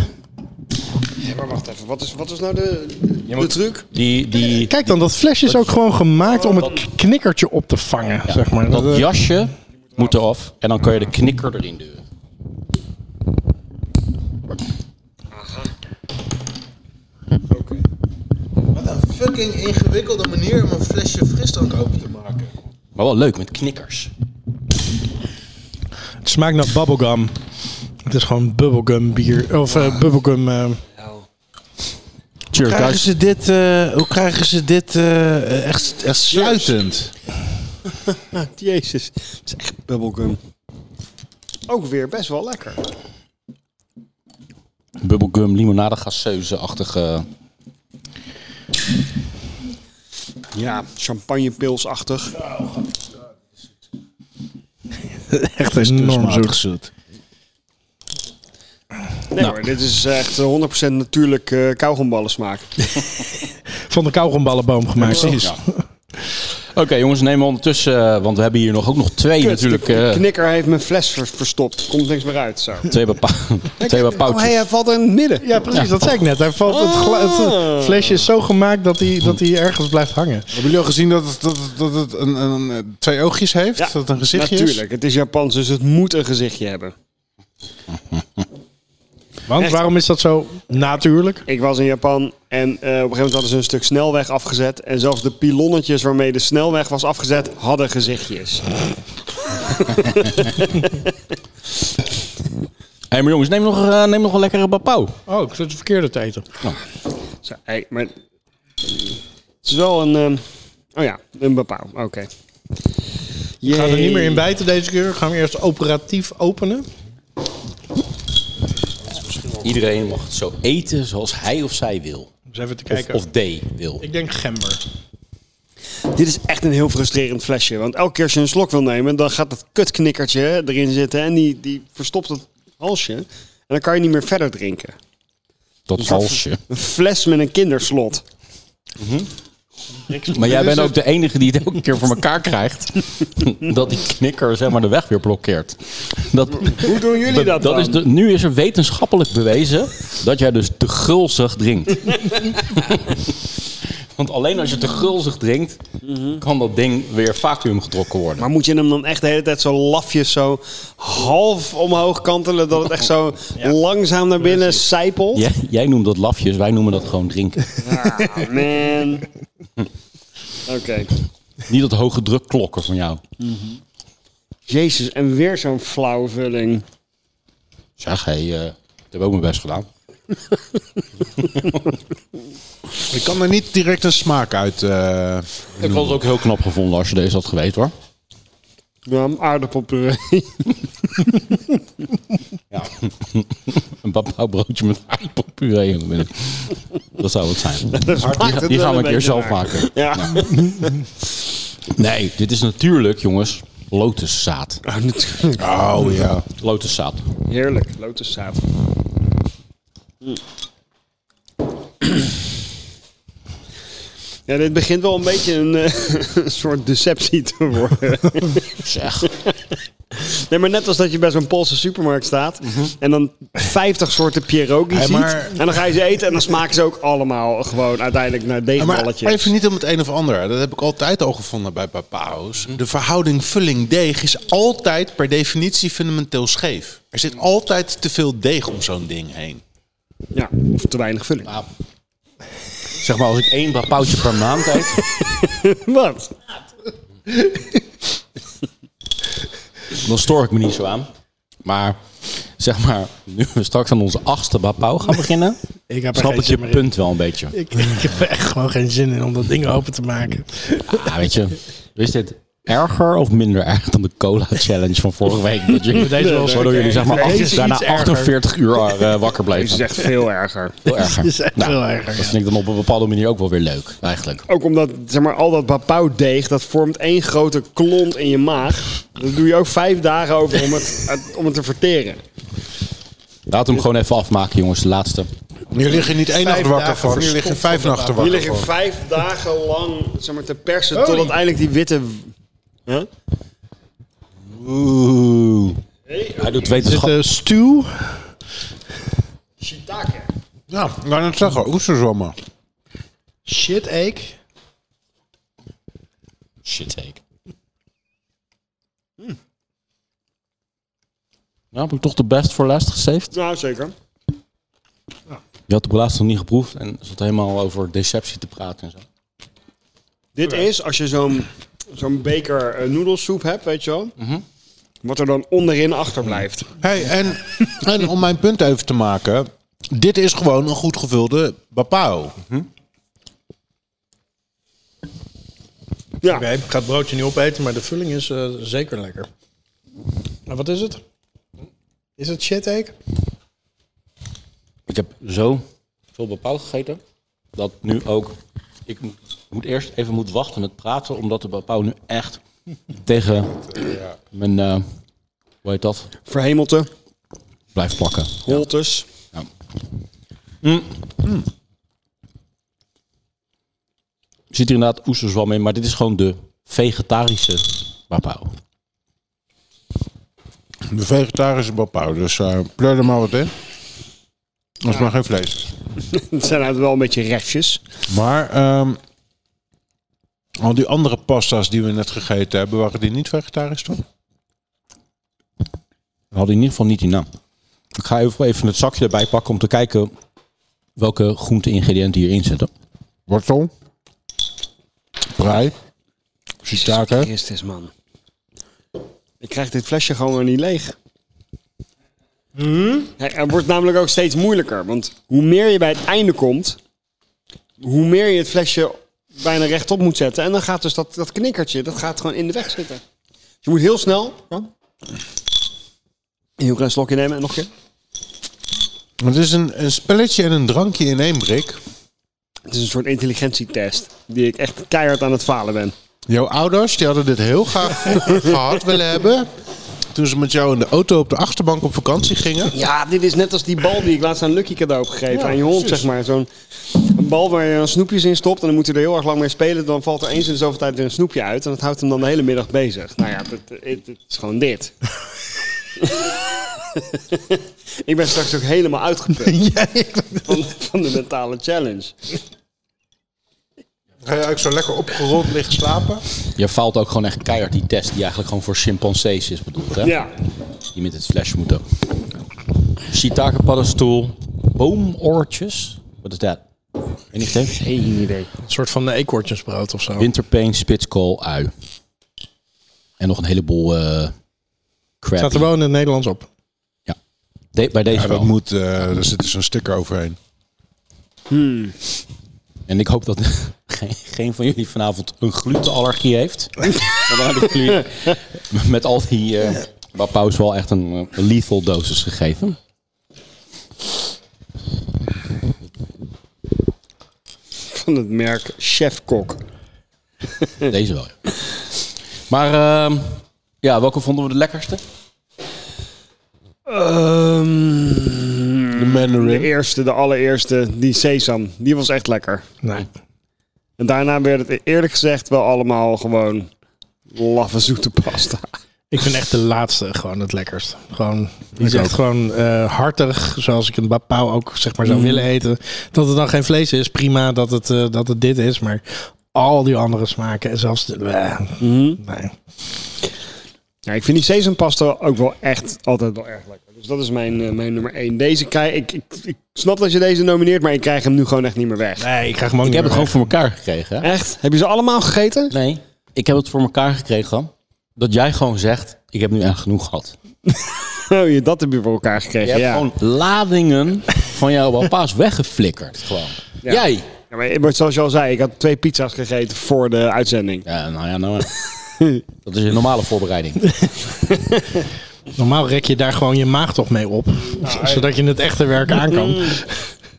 Speaker 2: Nee, maar wacht even. Wat is, wat is nou de, de, truc?
Speaker 1: Die, die,
Speaker 7: Kijk dan, dat flesje is ook gewoon gemaakt om het k- knikkertje op te vangen, zeg maar. Dat,
Speaker 1: dat
Speaker 7: eh,
Speaker 1: jasje moet eraf en dan kan je de knikker erin duwen.
Speaker 5: Wat een fucking ingewikkelde manier om een flesje frisdrank open te maken.
Speaker 1: Maar wel leuk met knikkers.
Speaker 6: Het smaakt naar bubblegum. Het is gewoon bubblegum bier. Of eh, bubblegum... eh,
Speaker 1: Cheers,
Speaker 5: Krijgen ze dit, eh, hoe krijgen ze dit eh, echt, echt sluitend?
Speaker 2: Jezus, het is echt bubblegum. Ook weer best wel lekker.
Speaker 1: Bubblegum, limonade, gasseuze-achtige...
Speaker 2: Ja, champagnepilsachtig.
Speaker 7: echt enorm zoet.
Speaker 5: Dus zoet.
Speaker 2: Nee hoor, dit is echt eh, 100% natuurlijk eh kauwgomballen smaak.
Speaker 6: van de kauwgomballenboom gemaakt.
Speaker 1: Ja. Oké jongens, neem ondertussen, eh, want we hebben hier nog ook nog twee natuurlijk.
Speaker 2: de
Speaker 1: eh,
Speaker 2: knikker heeft mijn fles ver- verstopt. Komt niks meer uit, zo.
Speaker 1: twee bepa- twee
Speaker 2: Oh, hey,
Speaker 1: bepautjes.
Speaker 2: hij valt in het midden.
Speaker 7: Ja, precies, dat zei ik net. Hij valt, het, gla-
Speaker 5: Ah.
Speaker 7: het flesje is zo gemaakt dat hij, dat hij ergens blijft hangen.
Speaker 5: Hebben jullie al gezien dat het, dat, het- dat het een, een, een- twee oogjes heeft? dat het een gezichtje is?
Speaker 2: Natuurlijk, het is Japans, dus het moet een gezichtje hebben.
Speaker 6: Want
Speaker 2: Echt.
Speaker 6: waarom is dat zo natuurlijk?
Speaker 2: Ik was in Japan en eh, op een gegeven moment hadden ze een stuk snelweg afgezet. En zelfs de pilonnetjes waarmee de snelweg was afgezet, hadden gezichtjes.
Speaker 1: Hé, maar jongens, neem nog, eh, neem nog een lekkere bapau.
Speaker 6: Oh, ik zit de verkeerde te eten.
Speaker 2: Zo, hey, maar het is wel een... ehm, oh ja, een bepaal. Oké.
Speaker 6: We gaan er
Speaker 2: Yay.
Speaker 6: niet meer in bijten deze keer. Gaan we eerst operatief openen.
Speaker 1: Iedereen mag het zo eten zoals hij of zij wil.
Speaker 6: Dus even te
Speaker 1: Of,
Speaker 6: kijken.
Speaker 1: of D wil.
Speaker 6: Ik denk gember.
Speaker 2: Dit is echt een heel frustrerend flesje. Want elke keer als je een slok wil nemen, dan gaat dat kutknikkertje erin zitten. En die, die verstopt het halsje. En dan kan je niet meer verder drinken.
Speaker 1: Dat halsje.
Speaker 2: Een fles met een kinderslot.
Speaker 1: Maar jij bent ook de enige die het elke keer voor elkaar krijgt. dat die knikker zeg maar de weg weer blokkeert. Dat,
Speaker 2: Hoe doen jullie dat,
Speaker 1: dat
Speaker 2: dan?
Speaker 1: is de, nu is er wetenschappelijk bewezen dat jij dus te gulzig drinkt. Want alleen als je te gulzig drinkt, kan dat ding weer vacuüm getrokken worden.
Speaker 2: Mhm. Maar moet je hem dan echt de hele tijd zo lafjes zo half omhoog kantelen... dat het echt zo langzaam naar binnen sijpelt?
Speaker 1: Jij, jij noemt dat lafjes, wij noemen dat gewoon drinken.
Speaker 2: Ah, man. Oké.
Speaker 1: Niet dat hoge druk klokken van jou.
Speaker 2: Jezus, en weer zo'n flauwe vulling.
Speaker 1: Zeg, hé, hey, eh, ik heb ook mijn best gedaan.
Speaker 5: Ik kan er niet direct een smaak uit. eh,
Speaker 1: Ik had het ook heel knap gevonden als je deze had geweten hoor.
Speaker 2: Ja, een aardappelpuree.
Speaker 1: Een papauwbroodje met aardappelpuree. in de middag. Dat zou het zijn.
Speaker 2: maakt het
Speaker 1: Die gaan we
Speaker 2: wel een
Speaker 1: een keer
Speaker 2: beetje
Speaker 1: zelf
Speaker 2: raar.
Speaker 1: maken.
Speaker 2: Ja.
Speaker 1: Nee, dit is natuurlijk, jongens, lotuszaad.
Speaker 5: Oh ja.
Speaker 1: Lotuszaad.
Speaker 2: Heerlijk, lotuszaad. Ja, dit begint wel een beetje een eh, soort deceptie te worden.
Speaker 1: Zeg.
Speaker 2: Nee, maar net als dat je bij zo'n Poolse supermarkt staat en dan 50 soorten pierogi ziet.
Speaker 5: maar-
Speaker 2: En dan ga je ze eten en dan smaken ze ook allemaal gewoon uiteindelijk naar
Speaker 5: Maar
Speaker 2: deegballetjes.
Speaker 5: even niet om het een of ander. Dat heb ik altijd al gevonden bij papao's. De verhouding vulling-deeg is altijd per definitie fundamenteel scheef. Er zit altijd te veel deeg om zo'n ding heen.
Speaker 2: Ja, of te weinig vulling.
Speaker 1: Zeg maar, als ik één papautje per maand eet,
Speaker 2: Wat?
Speaker 1: dan stoor ik me niet zo aan. Maar, zeg maar, nu we straks aan onze achtste papau gaan beginnen,
Speaker 6: Ik heb er
Speaker 1: snap
Speaker 6: geen
Speaker 1: ik
Speaker 6: zin
Speaker 1: je
Speaker 6: meer in.
Speaker 1: punt wel een beetje.
Speaker 6: Ik, ik heb er echt gewoon geen zin in om dat ding open te maken.
Speaker 1: Ah, weet je, is dit erger of minder erg dan de cola challenge van vorige week? Dat jullie,
Speaker 6: Deze was
Speaker 1: waardoor jullie zeg maar
Speaker 6: Deze
Speaker 1: acht-
Speaker 6: is iets
Speaker 1: daarna
Speaker 6: erger.
Speaker 1: 48 uur eh, wakker bleven.
Speaker 2: echt veel erger.
Speaker 1: Heel erger.
Speaker 6: Dit is echt
Speaker 1: Nou,
Speaker 6: heel erg.
Speaker 1: Dat vind ik dan op een bepaalde manier ook wel weer leuk, eigenlijk.
Speaker 2: Ook omdat zeg maar, al dat bapaudeeg, dat vormt één grote klont in je maag. Daar doe je ook vijf dagen over om het, uit- om het te verteren.
Speaker 1: Laten we hem gewoon even afmaken, jongens. De laatste.
Speaker 5: Hier liggen niet één nacht wakker van. Hier liggen vijf nachten
Speaker 2: Je
Speaker 5: wakker
Speaker 2: ligt er
Speaker 5: van.
Speaker 2: vijf dagen lang zeg maar, te persen tot uiteindelijk die witte... Huh?
Speaker 1: Hij doet
Speaker 6: Dit
Speaker 1: wetenschap.
Speaker 6: eh stew.
Speaker 2: Shiitake.
Speaker 5: Ja, nou, ik wou net zeggen, oesterzwammen.
Speaker 7: Shit ache.
Speaker 1: Shit take. Nou, heb ik toch de best voor last gesaved.
Speaker 2: Nou, zeker.
Speaker 1: Je had de laatst nog niet geproefd en zat helemaal over deceptie te praten en zo.
Speaker 2: Dit is, als je zo'n zo'n beker eh, noedelsoep hebt, weet je wel. Wat er dan onderin achterblijft.
Speaker 5: Hey, en, en om mijn punt even te maken. Dit is gewoon een goed gevulde bapao.
Speaker 2: Ja,
Speaker 7: Oké, ik ga het broodje niet opeten, maar de vulling is eh, zeker lekker. Maar wat is het? Is het shit ache?
Speaker 1: Ik heb zo veel bepaald gegeten dat nu ook. Ik mo- moet eerst even moet wachten met praten, omdat de bepaal nu echt tegen mijn. eh hoe heet dat?
Speaker 2: verhemelte,
Speaker 1: Blijft plakken.
Speaker 2: holtes.
Speaker 1: Er zit hier inderdaad oesterzwam in, maar dit is gewoon de vegetarische bepaal.
Speaker 5: De vegetarische bapao. Dus eh pleur er maar wat in. Als maar geen vlees is.
Speaker 2: Het zijn uit wel een beetje rechtjes.
Speaker 5: Maar ehm, al die andere pasta's die we net gegeten hebben, waren die niet vegetarisch toch?
Speaker 1: We hadden in ieder geval niet die naam. Ik ga even even het zakje erbij pakken om te kijken welke groente-ingrediënten hierin zitten.
Speaker 5: Wortel, prei, shiitake.
Speaker 2: Christus, man. Ik krijg dit flesje gewoon weer niet leeg. Hij- hij wordt namelijk ook steeds moeilijker. Want hoe meer je bij het einde komt, hoe meer je het flesje bijna rechtop moet zetten. En dan gaat dus dat, dat knikkertje, dat gaat gewoon in de weg zitten. Dus je moet heel snel... Ja. Een heel klein slokje nemen en nog een keer.
Speaker 5: Het is een, een spelletje en een drankje in één brik.
Speaker 2: Het is een soort intelligentietest die ik echt keihard aan het falen ben.
Speaker 5: Jouw ouders die hadden dit heel graag vroeger gehad willen hebben. Toen ze met jou in de auto op de achterbank op vakantie gingen.
Speaker 2: Ja, dit is net als die bal die ik laatst aan Lucky cadeau heb gegeven. aan je hond,
Speaker 5: precies.
Speaker 2: zeg maar. Zo'n een bal waar je dan snoepjes in stopt en dan moet hij er heel erg lang mee spelen. Dan valt er eens in de zoveel tijd weer een snoepje uit. En dat houdt hem dan de hele middag bezig. Nou ja, dat- het, het is gewoon dit. ik ben straks ook helemaal uitgeput van, van de mentale challenge.
Speaker 5: Ga je ook zo lekker opgerold liggen slapen?
Speaker 1: Je faalt ook gewoon echt keihard die test die eigenlijk gewoon voor chimpansees is bedoeld. Hè?
Speaker 2: Ja,
Speaker 1: Die met het flesje moeten. Shiitake paddenstoel. Boomoortjes. Wat is dat? En ik denk
Speaker 7: Een soort van eh, eekhoortjesbrood of zo.
Speaker 1: winterpeen, spitskool, ui. En nog een heleboel eh crap.
Speaker 7: Staat er wel in het Nederlands op.
Speaker 1: Ja. De- bij deze
Speaker 5: Ja, dat
Speaker 1: wel.
Speaker 5: moet, eh er zit zo'n sticker overheen.
Speaker 1: En ik hoop dat geen, geen van jullie vanavond een glutenallergie heeft. Dan hadden jullie met al die eh paus wel echt een eh, lethal dosis gegeven.
Speaker 2: van het merk Chef Kok.
Speaker 1: Deze wel. ja. Maar ehm, ja, welke vonden we de lekkerste?
Speaker 5: De
Speaker 2: de
Speaker 5: Mandarin.
Speaker 2: eerste, de allereerste, die sesam. Die was echt lekker.
Speaker 7: Nee.
Speaker 2: En daarna werd het eerlijk gezegd wel allemaal gewoon laffe zoete pasta.
Speaker 7: Ik vind echt de laatste gewoon het lekkerst. Gewoon, die is echt gewoon eh, hartig, zoals ik een bapau ook zeg maar
Speaker 1: Mm.
Speaker 7: zou willen eten. Dat het dan geen vlees is, prima dat het, eh, dat het dit is. Maar al die andere smaken en zelfs... De, bleh,
Speaker 1: Mm.
Speaker 7: nee.
Speaker 2: Ja, ik vind die sesampasta ook wel echt altijd wel erg lekker. Dus dat is mijn, eh, mijn nummer één. Deze krijg ik, ik, ik snap dat je deze nomineert, maar ik krijg hem nu gewoon echt niet meer weg.
Speaker 7: nee, ik krijg hem ook
Speaker 1: Ik
Speaker 7: niet
Speaker 1: heb het
Speaker 7: meer
Speaker 1: gewoon voor elkaar gekregen. Hè?
Speaker 2: Echt? Heb je ze allemaal gegeten?
Speaker 1: Nee, ik heb het voor elkaar gekregen. Dat jij gewoon zegt, ik heb nu echt genoeg gehad.
Speaker 2: Oh, je, dat heb je voor elkaar
Speaker 1: Je
Speaker 2: gekregen.
Speaker 1: hebt
Speaker 2: Ja.
Speaker 1: gewoon ladingen van jouw papa's weggeflikkerd. Gewoon.
Speaker 2: Ja.
Speaker 1: Jij.
Speaker 2: Ja, maar, maar zoals je al zei, ik had twee pizza's gegeten voor de uitzending.
Speaker 1: Ja, nou ja, nou ja. Dat is een normale voorbereiding.
Speaker 7: Normaal rek je daar gewoon je maag toch mee op. z- zodat je het echte werk
Speaker 1: Mm.
Speaker 7: aan kan.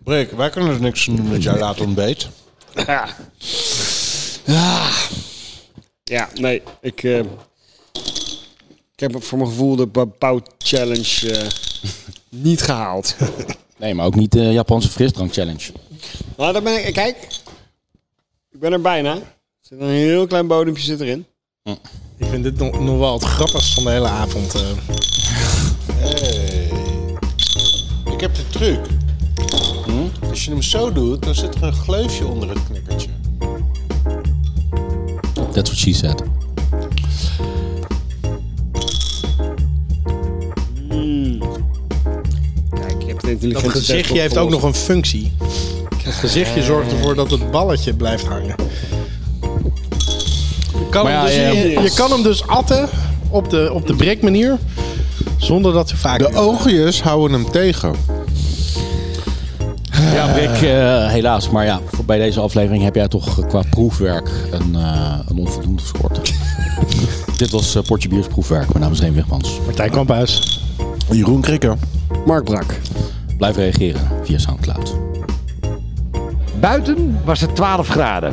Speaker 5: Rick, wij kunnen er niks aan doen met jouw laat ontbeet.
Speaker 2: Ja, Ah. ja nee, ik, eh, ik heb voor mijn gevoel de Babau Challenge eh, niet gehaald.
Speaker 1: Nee, maar ook niet de Japanse frisdrank challenge.
Speaker 2: Nou, daar ben ik. Kijk, ik ben er bijna. Er zit een heel klein bodempje zit erin.
Speaker 7: Ik vind dit nog, nog wel het grappigst van de hele avond. eh.
Speaker 5: Ik heb de truc. Hm? Als je hem zo doet, dan zit er een gleufje onder het knikkertje.
Speaker 1: That's what she said.
Speaker 2: Kijk, je hebt een
Speaker 6: Dat
Speaker 2: intelligente
Speaker 6: gezichtje
Speaker 2: test
Speaker 6: heeft ook nog
Speaker 2: opgelost.
Speaker 6: een functie. Het gezichtje zorgt ervoor dat het balletje blijft hangen. Je kan,
Speaker 1: Maar
Speaker 6: hem,
Speaker 1: ja,
Speaker 6: dus,
Speaker 1: ja,
Speaker 6: je, je kan hem dus atten op de, op de breekmanier. Zonder dat hij vaak...
Speaker 5: De oogjes houden hem tegen.
Speaker 1: Ja, Rick, eh, helaas. Maar ja, voor- bij deze aflevering heb jij toch eh, qua proefwerk een, eh, een onvoldoende gescoord. Dit was eh, Portje Biers proefwerk. Mijn naam is Reen Wigmans.
Speaker 6: Martijn Kamphuis.
Speaker 5: Jeroen Krikker.
Speaker 2: Mark Brak.
Speaker 1: Blijf reageren via Soundcloud.
Speaker 8: Buiten was het 12 graden.